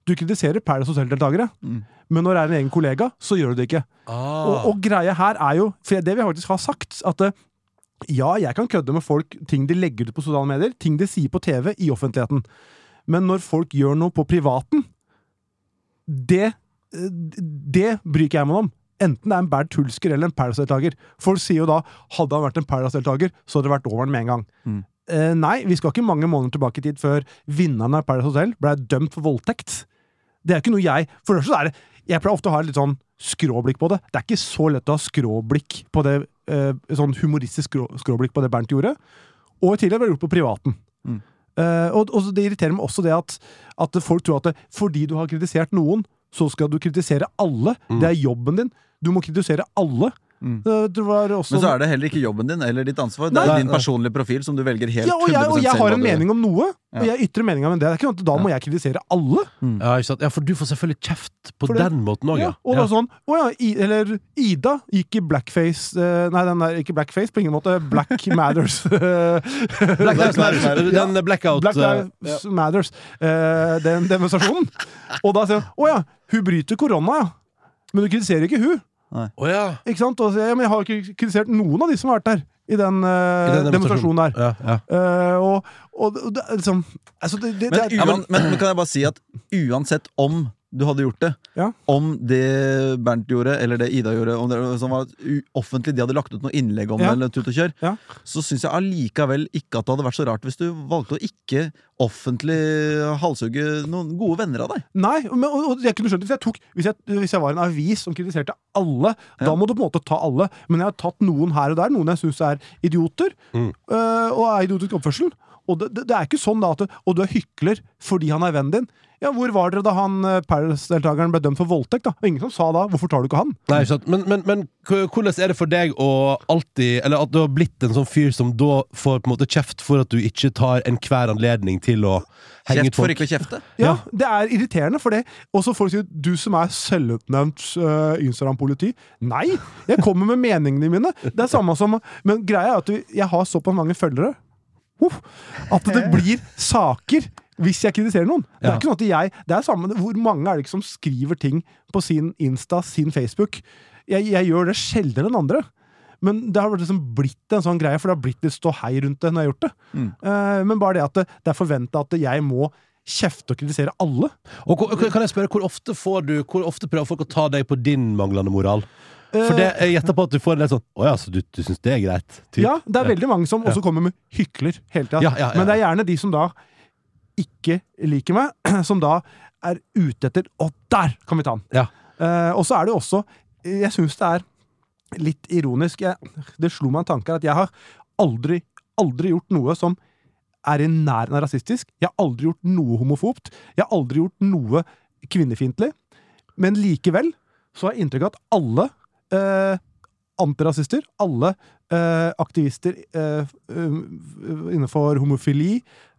Speaker 3: Du kritiserer Paradise Hotel-deltakere, men når det er en egen kollega, så gjør du det ikke. Og, og greia her er jo, for det vi faktisk har sagt, at eh, ja, jeg kan kødde med folk, ting de legger ut på sosiale medier, ting de sier på TV i offentligheten. Men når folk gjør noe på privaten, det, eh, det bryr ikke jeg meg om. Enten det er en Bernt Hulsker eller en Paradise-deltaker. Folk sier jo da hadde han vært en Paradise-deltaker, så hadde det vært over han med en gang. Eh, nei, vi skal ikke mange måneder tilbake i tid før vinneren av Paradise Hotel ble dømt for voldtekt. Det er jo ikke noe jeg For det første er det Jeg pleier ofte å ha et litt sånn skråblikk på det. Det er ikke så lett å ha skråblikk på det eh, Sånn humoristisk skrå, skråblikk på det Bernt gjorde. Og i tillegg ble det gjort på privaten.
Speaker 2: Mm.
Speaker 3: Eh, og, og det irriterer meg også det at, at folk tror at det, fordi du har kritisert noen, så skal du kritisere alle.
Speaker 2: Mm.
Speaker 3: Det er jobben din. Du må kritisere alle. Eh, Det var også
Speaker 2: Men så er det heller ikke jobben din eller ditt ansvar. Det
Speaker 3: Nei.
Speaker 2: er din personlige profil som du velger helt
Speaker 3: ja, og jeg, og
Speaker 2: 100%
Speaker 3: jeg
Speaker 2: selv
Speaker 3: har
Speaker 2: hva
Speaker 3: en
Speaker 2: du-
Speaker 3: mening om noe, og jeg ytrer meninga om det. Det er ikke noe at Da må jeg kritisere alle.
Speaker 4: ja, ikke sant? ja, for du får selvfølgelig kjeft på
Speaker 3: For det-
Speaker 4: den måten også
Speaker 3: Ja,
Speaker 4: ja.
Speaker 3: og det
Speaker 4: Ja.
Speaker 3: var sånn, å ja, I, eller Ida gikk i blackface eh, Nei, den der, ikke blackface, på ingen måte. Black Matters.
Speaker 4: Black Lives
Speaker 2: Matter.
Speaker 4: Matter, sånn Den blackout
Speaker 3: Black
Speaker 4: eh,
Speaker 3: Lives Matters. eh, den demonstrasjonen. Og da sier hun å ja, hun bryter korona, ja. Men du kritiserer ikke hun.
Speaker 4: Å ja
Speaker 3: Ikke sant? Og så, sier jeg, ja, men jeg har jo ikke kritisert noen av de som har vært der. I den, eh,
Speaker 4: I den
Speaker 3: demonstrasjonen der.
Speaker 4: ja, ja.
Speaker 3: Eh, og, og, og det, er liksom altså, det, det,
Speaker 2: Men,
Speaker 3: det, er-
Speaker 2: uan, men, men kan jeg bare si at uansett om du hadde gjort det,
Speaker 3: Ja.
Speaker 2: om det Bernt gjorde, eller det Ida gjorde, om det som var u- offentlig, de hadde lagt ut noe innlegg om
Speaker 3: Ja.
Speaker 2: det, eller tut og kjør,
Speaker 3: Ja.
Speaker 2: så syns jeg allikevel ikke at det hadde vært så rart hvis du valgte å ikke offentlig halshugge noen gode venner av deg.
Speaker 3: Nei, men, og, og jeg kunne skjønt det hvis jeg, tok, hvis, jeg, eh, hvis jeg var en avis som kritiserte alle. Da må du på en måte ta alle. Men jeg har tatt noen her og der, noen jeg syns er idioter. øh, og er idiotisk oppførsel. Og det, det, det er ikke sånn da at du, Og du er hykler fordi han er vennen din. Ja, Hvor var dere da han eh, Paris-deltakeren ble dømt for voldtekt? da? Og Ingen som sa da 'hvorfor tar du ikke han'?
Speaker 4: Nei, ikke sant. Men, men, men k- hvordan er det for deg å alltid Eller at du har blitt en sånn fyr som da får på en måte kjeft for at du ikke tar enhver anledning til å henge ut
Speaker 2: Kjeft for
Speaker 4: folk?
Speaker 2: ikke å kjefte.
Speaker 3: Ja,
Speaker 4: Ja.
Speaker 3: Det er irriterende, for det også folk sier 'du som er selvutnevnt øh, Instagram-politi'. Nei! Jeg kommer med meningene mine. Det er samme som Men greia er at vi- jeg har såpass mange følgere uff, at det blir saker hvis jeg kritiserer noen. Det er
Speaker 4: Ja.
Speaker 3: ikke sånn at jeg det er samme, Hvor mange er det ikke som skriver ting på sin Insta, sin Facebook? Jeg, jeg gjør det sjeldnere enn andre. Men det har liksom blitt en sånn greie, for det har blitt litt ståhei rundt det når jeg har gjort det. Eh, men bare det at det, det er forventa at jeg må kjefte og kritisere alle.
Speaker 4: Og hvor- hvor- kan jeg spørre, hvor ofte, får du, hvor ofte prøver folk å ta deg på din manglende moral?
Speaker 3: Eh.
Speaker 4: For det, jeg gjetter på at du får en del sånn Å ja, så du, du syns det er greit? Typ.
Speaker 3: Ja, det er veldig mange som også kommer med hykler hele tida.
Speaker 4: Ja, ja, ja.
Speaker 3: Men det er gjerne de som da ikke liker meg, som da er ute etter Å, der kan vi ta den!
Speaker 4: Ja.
Speaker 3: Eh, og så er det jo også Jeg syns det er litt ironisk. Jeg, det slo meg en tanke her at jeg har aldri, aldri gjort noe som er i nærheten av rasistisk. Jeg har aldri gjort noe homofobt. Jeg har aldri gjort noe kvinnefiendtlig. Men likevel så har jeg inntrykk av at alle eh, antirasister, alle eh, aktivister eh, um, innenfor homofili,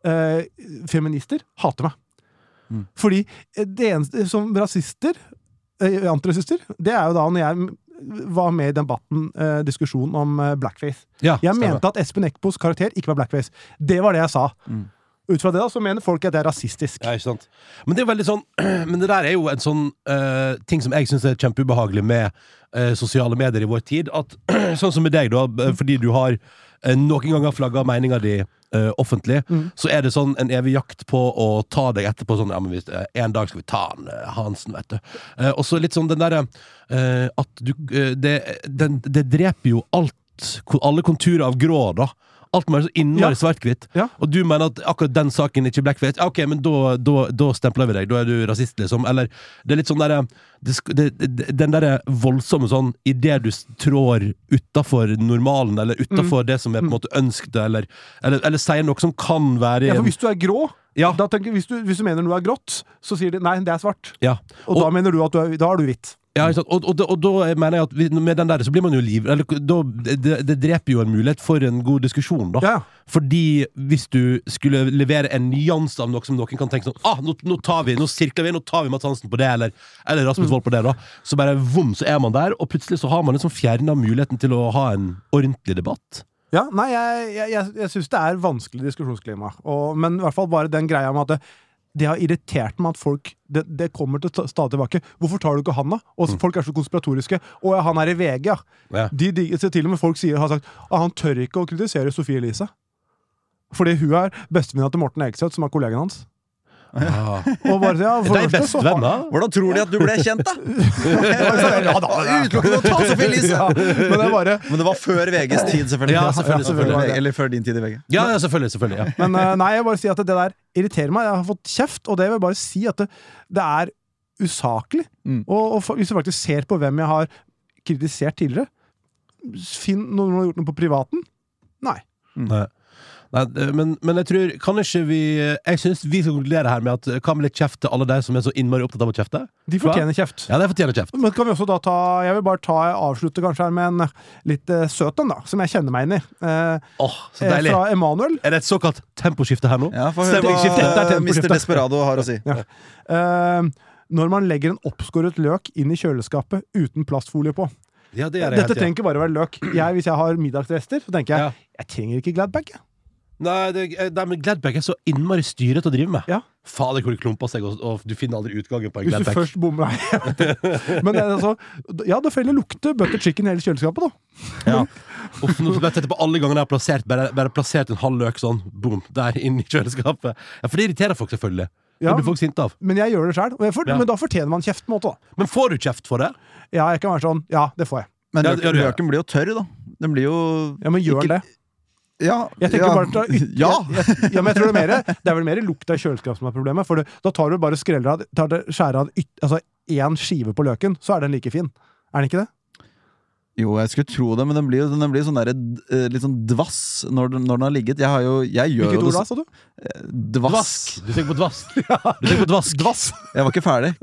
Speaker 3: eh, feminister, hater meg.
Speaker 2: Mm.
Speaker 3: Fordi eh, det eneste som rasister, eh, antirasister, det er jo da når jeg var med i debatten, eh, diskusjonen om eh, blackface.
Speaker 4: Ja,
Speaker 3: Jeg
Speaker 4: stemmer.
Speaker 3: mente at Espen Eckbos karakter ikke var blackface. Det var det jeg sa.
Speaker 2: Mm.
Speaker 3: Ut fra det da, så mener folk at det er rasistisk.
Speaker 4: Ja, ikke sant? Men det er jo veldig sånn Men det der er jo en sånn eh, ting som jeg syns er kjempeubehagelig med eh, sosiale medier i vår tid. At, sånn som med deg, da, eh, fordi du har eh, noen ganger flagga meninga di eh, offentlig,
Speaker 3: Mm.
Speaker 4: så er det sånn en evig jakt på å ta deg etterpå. Sånn, ja, men hvis, eh, en dag skal vi ta han eh, Hansen, vet du. Eh, og så litt sånn den derre eh, At du eh, det, den, det dreper jo alt. ko- Alle konturer av grå, da. Alt må være så
Speaker 3: Ja.
Speaker 4: innmari svart-hvitt.
Speaker 3: Ja.
Speaker 4: Og du mener at akkurat den saken ikke er blackface. Ja, Ok, men da, da, da stempler vi deg. Da er du rasist, liksom. Eller det er litt sånn derre det sk- det- det- Den derre voldsomme sånn idet du s- trår utafor normalen, eller
Speaker 3: Mm.
Speaker 4: utafor det som er på en måte ønsket, eller, eller, eller sier noe som kan være
Speaker 3: Ja, for hvis du er grå,
Speaker 4: Ja.
Speaker 3: da tenker, hvis, du, hvis du mener noe er grått, så sier de nei, det er svart.
Speaker 4: ja.
Speaker 3: Og, da mener du at du er, da er du hvitt.
Speaker 4: Ja, ikke sant? Og, og, da- og da mener jeg at vi, med den der så blir man jo liv... Eller, da, det, det dreper jo en mulighet for en god diskusjon, da.
Speaker 3: Ja,
Speaker 4: Fordi hvis du skulle levere en nyanse av noe som noen kan tenke sånn ah, nå, nå tar vi, nå sirkler vi, nå tar vi Mads Hansen på det, eller, eller
Speaker 3: Mm.
Speaker 4: Rasmus Wold på det, da. Så bare vom, så er man der, og plutselig så har man liksom fjerna muligheten til å ha en ordentlig debatt.
Speaker 3: ja nei, jeg, jeg, jeg, jeg syns det er vanskelig diskusjonsklima. Og, men i hvert fall bare den greia med at det, det har irritert meg at folk Det, det kommer til sta- stadig tilbake. Hvorfor tar du ikke han, da? Og så- folk er så konspiratoriske. Å ja, han er i VG, ja.
Speaker 4: Mm. Ja.
Speaker 3: De, de, så til og med folk sier, har sagt at han tør ikke å kritisere Sofie Elise. Fordi hun er bestevenninna til Morten Ekseth, som er kollegaen hans.
Speaker 4: Ah.
Speaker 3: Og bare, ja, for
Speaker 4: De
Speaker 3: det
Speaker 4: er
Speaker 3: første så har-
Speaker 4: bestevenner.
Speaker 2: Hvordan tror de at du ble kjent, da?
Speaker 3: Ja, da, ja.
Speaker 2: Utelukkende å ta Sophie Elise!
Speaker 3: Ja, men det er bare
Speaker 2: Men det var før VGs tid, selvfølgelig.
Speaker 4: Ja, selvfølgelig, selvfølgelig.
Speaker 2: Eller- Eller før din tid i VG.
Speaker 4: Ja, ja, selvfølgelig. selvfølgelig ja.
Speaker 3: Men eh, nei, jeg bare sier at det der irriterer meg. Jeg har fått kjeft, og det vil jeg bare si at det, det er usaklig.
Speaker 2: Mm.
Speaker 3: Og, og fa- hvis du faktisk ser på hvem jeg har kritisert tidligere Finn noen som har gjort noe på privaten. Nei.
Speaker 4: Nei. Nei, det- men, men jeg tror Kan ikke vi Jeg syns vi skal konkludere her med at eh, hva med litt kjeft til alle de som er så innmari opptatt av å kjefte?
Speaker 3: De fortjener kjeft.
Speaker 4: Ja, de fortjener kjeft.
Speaker 3: Men kan vi også da ta Jeg vil bare ta, avslutte kanskje her med en litt eh, søt en, da, som jeg kjenner meg inn i. Eh,
Speaker 4: Åh, så
Speaker 3: eh,
Speaker 4: deilig.
Speaker 3: fra Emanuel.
Speaker 4: Er det et såkalt temposkifte her nå?
Speaker 2: Ja, Få høre
Speaker 4: Stemningsskifte.
Speaker 2: hva
Speaker 4: Dette er
Speaker 2: eh, Mr.
Speaker 4: temposkifte.
Speaker 2: Desperado har å si.
Speaker 3: Eh, når man legger en oppskåret løk inn i kjøleskapet uten plastfolie på.
Speaker 4: Ja, det gjør jeg
Speaker 3: Dette
Speaker 4: helt, ja.
Speaker 3: trenger ikke bare å være løk. Jeg, hvis jeg har middagsrester, så tenker jeg
Speaker 4: Ja.
Speaker 3: jeg trenger ikke Gladbag. jeg.
Speaker 4: Nei, det, eh, nei, men Gladback er så innmari styret å drive med.
Speaker 3: Ja.
Speaker 4: Fader, hvor det klumper seg, og, og du finner aldri utgangen på en
Speaker 3: Hvis du
Speaker 4: Gladback.
Speaker 3: først bommer Nei, jeg vet ikke. Men det er altså, ja, da får jeg lukte butter chicken i hele kjøleskapet, da.
Speaker 4: Ja. Uff, nå vet jeg på alle gangene jeg har plassert bare, bare plassert en halv løk sånn, boom, der inn i kjøleskapet. Ja, For det irriterer folk, selvfølgelig. Det
Speaker 3: Ja.
Speaker 4: blir folk sinte av.
Speaker 3: Men jeg gjør det sjøl.
Speaker 4: Ja.
Speaker 3: Men da fortjener man kjeft, på en måte. da.
Speaker 4: Men får du kjeft for det?
Speaker 3: Ja, jeg kan være sånn. Ja, det får jeg.
Speaker 2: Men
Speaker 4: Ja,
Speaker 2: løk-
Speaker 4: ja, ja.
Speaker 2: løken blir jo tørr, da. Den blir jo
Speaker 3: Ja, Men gjør
Speaker 2: Ikke-
Speaker 3: den det?
Speaker 2: Ja.
Speaker 3: Jeg tenker
Speaker 2: ja.
Speaker 3: bare at det er yt-
Speaker 2: Ja!
Speaker 3: jeg- ja, men jeg tror det er mer Det er vel mer lukta i kjøleskapet som er problemet. For det, da tar du bare skreller av tar det, Skjærer av yt, altså én skive på løken, så er den like fin. Er den ikke det?
Speaker 2: Jo, jeg skulle tro det, men den blir jo den blir sånn der, eh, litt sånn dvass når den, når den har ligget. Jeg har jo jeg gjør
Speaker 3: Hvilket
Speaker 2: jo
Speaker 3: ord
Speaker 2: det
Speaker 3: da,
Speaker 2: så-
Speaker 3: sa du?
Speaker 2: Dvass.
Speaker 4: Du tenker på dvask. Du tenker på dvask.
Speaker 2: Jeg var ikke ferdig.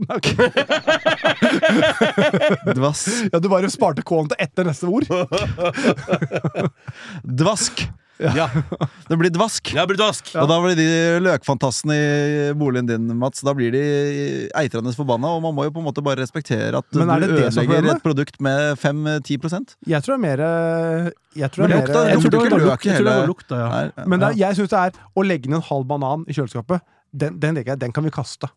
Speaker 2: Dvass.
Speaker 3: Ja, Du bare sparte K-en til etter neste ord.
Speaker 2: Dvask.
Speaker 4: Ja,
Speaker 2: Det blir dvask.
Speaker 4: jeg blir dvask.
Speaker 2: Og da blir de løkfantastene i boligen din, Mats. Da blir de eitrende forbanna, og man må jo på en måte bare respektere at du
Speaker 3: Men er det det som er
Speaker 2: ødelegger
Speaker 3: problemet?
Speaker 2: et produkt med 5-10
Speaker 3: Jeg tror det er mer eh, Jeg tror det er
Speaker 2: Men lukta-
Speaker 3: mer
Speaker 4: Jeg
Speaker 2: lukter
Speaker 4: tror det
Speaker 2: ikke
Speaker 4: var
Speaker 2: løk
Speaker 4: luk- jeg tror det
Speaker 2: hele-
Speaker 4: var lukta, ja.
Speaker 2: Her-
Speaker 3: Men det,
Speaker 2: ja.
Speaker 3: er- jeg syns det er å legge inn en halv banan i kjøleskapet. Den, den tenker jeg, den kan vi kaste.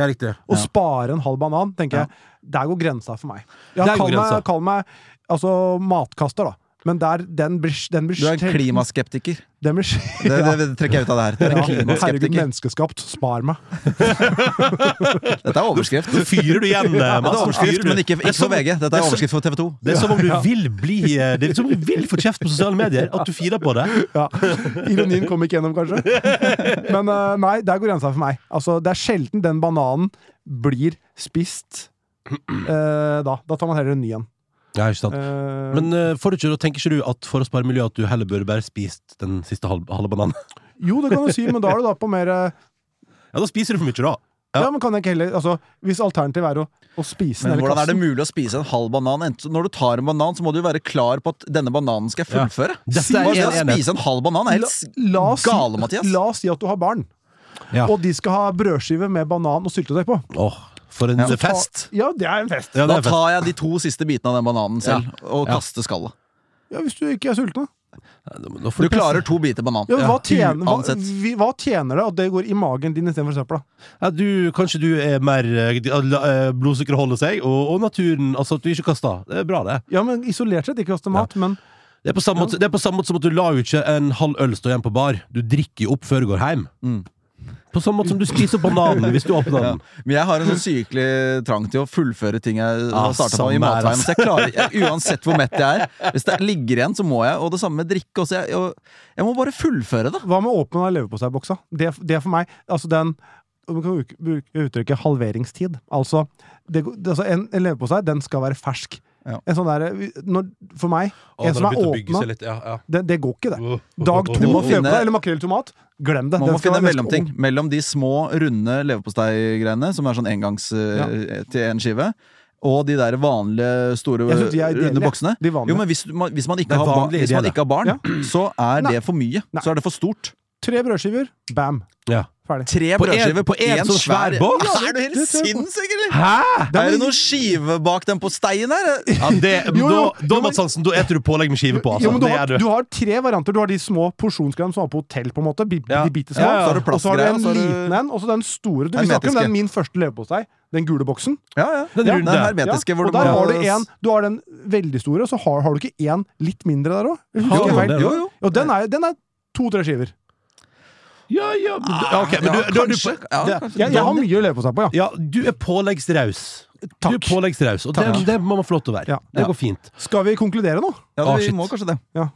Speaker 4: Ja, riktig.
Speaker 3: Å
Speaker 2: Ja.
Speaker 3: spare en halv banan, tenker
Speaker 2: Ja.
Speaker 3: jeg, der går grensa for meg. Ja,
Speaker 4: Der går
Speaker 3: kall, meg
Speaker 4: grensa.
Speaker 3: kall meg altså matkaster, da. Men der, den blir, den blir
Speaker 2: Du er en
Speaker 3: streng-
Speaker 2: klimaskeptiker.
Speaker 3: Den blir
Speaker 2: Det, det, det trekker jeg ut av det her. Du er
Speaker 3: ja,
Speaker 2: en
Speaker 3: herregud,
Speaker 2: klimaskeptiker.
Speaker 3: menneskeskapt. Spar meg.
Speaker 2: Dette er overskrift.
Speaker 4: Så fyrer du igjen, eh,
Speaker 2: Dette er
Speaker 4: Mats.
Speaker 2: overskrift,
Speaker 4: Fyrer du.
Speaker 2: men ikke,
Speaker 4: Det er
Speaker 2: ikke for
Speaker 4: som-
Speaker 2: VG. Dette
Speaker 4: det
Speaker 2: er
Speaker 4: som-
Speaker 2: overskrift for TV 2.
Speaker 4: Det er som om du vil bli eh, Det er som om du vil få kjeft på sosiale medier. At du firer på det.
Speaker 3: Ja. Ironien kom ikke gjennom, kanskje. Men eh, nei, der går grensa for meg. Altså, det er sjelden den bananen blir spist eh, da. Da tar man heller en ny en.
Speaker 4: Ja, ikke sant.
Speaker 3: Eh,
Speaker 4: Men eh, får du ikke, da tenker ikke du at for å spare miljøet at du heller burde bare spist den siste halve halve bananen?
Speaker 3: Jo, det kan du si, men da er du da på mer eh,
Speaker 4: Ja, da spiser du for mye, da.
Speaker 3: Ja, men kan jeg ikke heller altså, Hvis alternativet er å, å spise den
Speaker 2: Men
Speaker 3: hele
Speaker 2: hvordan er det
Speaker 3: kassen
Speaker 2: mulig å spise en halv banan? Enten når du tar en banan, så må du jo være klar på at denne bananen skal jeg
Speaker 4: Ja.
Speaker 2: fullføre.
Speaker 4: Dette
Speaker 2: Hva skal
Speaker 4: er en
Speaker 2: jeg
Speaker 4: enhet.
Speaker 2: spise en halv banan? Det er helt s-
Speaker 3: la oss, si-
Speaker 2: gale, Mathias.
Speaker 3: La oss si at du har barn,
Speaker 4: Ja.
Speaker 3: og de skal ha brødskive med banan og syltetøy på.
Speaker 4: Åh, for en
Speaker 2: Ja.
Speaker 4: fest!
Speaker 3: Ja, det er en fest.
Speaker 4: Ja, det
Speaker 2: Da
Speaker 4: er fest.
Speaker 2: tar jeg de to siste bitene av den bananen selv, og
Speaker 4: Ja.
Speaker 2: kaster skallet.
Speaker 3: Ja, Hvis du ikke er sulten, da.
Speaker 4: Nå får
Speaker 2: Du
Speaker 4: presse.
Speaker 2: klarer to biter banan.
Speaker 3: Ja, men hva, tjener, hva,
Speaker 2: Uansett.
Speaker 3: vi, hva tjener det at det går i magen din istedenfor søpla?
Speaker 4: ja, du, Kanskje du er mer eh, la- eh, Blodsukkeret holder seg, og, og naturen. Altså at du ikke kaster. Det er bra, det.
Speaker 3: Ja, men Isolert sett ikke kaste mat, men
Speaker 4: Det er på samme måte, det er på samme måte som at du lar jo ikke en halv øl stå igjen på bar. Du drikker jo opp før du går hjem.
Speaker 2: Mm.
Speaker 4: På samme måte som du spiser bananen hvis du åpner den.
Speaker 2: Men jeg har en sånn sykelig trang til å fullføre ting jeg
Speaker 4: Ah,
Speaker 2: har starta på i
Speaker 4: samme her,
Speaker 2: matveien.
Speaker 4: ass.
Speaker 2: Så jeg klarer, jeg, uansett hvor mett jeg er. Hvis det ligger igjen, så må jeg. Og det samme med drikke også. Jeg, og, jeg må bare fullføre det.
Speaker 3: hva med åpen av leverposteiboksa? Det, det er for meg altså den man kan bruke- bruke uttrykket halveringstid. Altså, det, går- det, altså en, en leverpostei, den skal være fersk.
Speaker 2: Ja.
Speaker 3: En sånn der, når, for meg,
Speaker 4: Å,
Speaker 3: en
Speaker 4: den
Speaker 3: som
Speaker 4: har
Speaker 3: er
Speaker 4: begynt å bygge
Speaker 3: åpna,
Speaker 4: seg litt, ja, ja.
Speaker 3: det, det går ikke, det.
Speaker 4: Uh, uh,
Speaker 3: Dag
Speaker 4: uh,
Speaker 3: to
Speaker 4: uh, uh.
Speaker 2: må finne-
Speaker 3: leverpostei eller makrell i tomat, glem det.
Speaker 2: Man
Speaker 3: Den
Speaker 2: må
Speaker 3: skal
Speaker 2: finne en
Speaker 3: være ganske
Speaker 2: mellomting mellom de små, runde leverposteigreiene, som er sånn engangs eh, til én skive, og de der vanlige, store,
Speaker 3: Jeg synes de er ideelle,
Speaker 2: runde boksene.
Speaker 3: de vanlige.
Speaker 2: Jo, men hvis, man, hvis, man
Speaker 4: Det
Speaker 2: ikke
Speaker 4: er
Speaker 2: har barn,
Speaker 4: vanlige
Speaker 2: hvis man
Speaker 4: ideelle.
Speaker 2: ikke har barn, så er
Speaker 3: Nei.
Speaker 2: det for mye.
Speaker 3: Nei.
Speaker 2: Så er det for stort.
Speaker 3: Tre brødskiver, bam,
Speaker 4: Ja.
Speaker 3: ferdig.
Speaker 2: Tre
Speaker 4: På en-
Speaker 2: brødskiver på
Speaker 4: på en
Speaker 2: én
Speaker 4: sånn svær
Speaker 2: svær
Speaker 4: boks?
Speaker 2: Ja, er du helt sinnssyk, eller?
Speaker 4: Hæ?!
Speaker 2: Er det noen skive bak den på steinen her?
Speaker 4: Ja, det,
Speaker 3: Jo, jo,
Speaker 4: da, da,
Speaker 3: jo, men-
Speaker 4: Mads Hansen, da eter du pålegg med skive på. Altså.
Speaker 3: Jo, men du,
Speaker 4: det
Speaker 3: har,
Speaker 4: er du.
Speaker 3: du har tre varianter. Du har de små porsjonsgreiene som var på hotell, på en måte. bi-
Speaker 4: Ja.
Speaker 3: De bitte små.
Speaker 4: Ja, ja. Så har du
Speaker 3: Og så har du
Speaker 2: plastgreia,
Speaker 3: en
Speaker 2: så har du-
Speaker 3: liten en, og så den store. Du, vi snakker om
Speaker 2: Hermetiske.
Speaker 3: den min første leverpostei. Den gule boksen.
Speaker 2: Ja, ja.
Speaker 4: Den
Speaker 2: ja,
Speaker 4: runde.
Speaker 2: Den hermetiske.
Speaker 3: Ja,
Speaker 2: hvor
Speaker 3: og
Speaker 2: du
Speaker 3: der
Speaker 2: må-
Speaker 3: har du en Du har den veldig store, og så har, har du ikke en litt mindre der òg?
Speaker 4: Jo, jo, det er
Speaker 2: Jo, jo.
Speaker 3: Og den er, den er to-tre skiver.
Speaker 4: Ja, ja, men, du- Ah, ja, ok, men
Speaker 2: Ja,
Speaker 4: du, da er du
Speaker 2: kanskje.
Speaker 4: på-
Speaker 2: Ja,
Speaker 4: det-
Speaker 2: kanskje.
Speaker 3: Jeg, jeg har mye å leve på seg på, ja.
Speaker 4: Ja, du er påleggsraus. Du er
Speaker 3: Takk.
Speaker 4: påleggsraus, og det,
Speaker 3: Takk.
Speaker 4: det må man få lov til å være.
Speaker 3: Ja.
Speaker 4: Det går fint.
Speaker 3: Skal vi konkludere nå?
Speaker 2: Ja,
Speaker 4: Ah,
Speaker 2: vi
Speaker 4: shit.
Speaker 2: må kanskje det.
Speaker 3: Ja.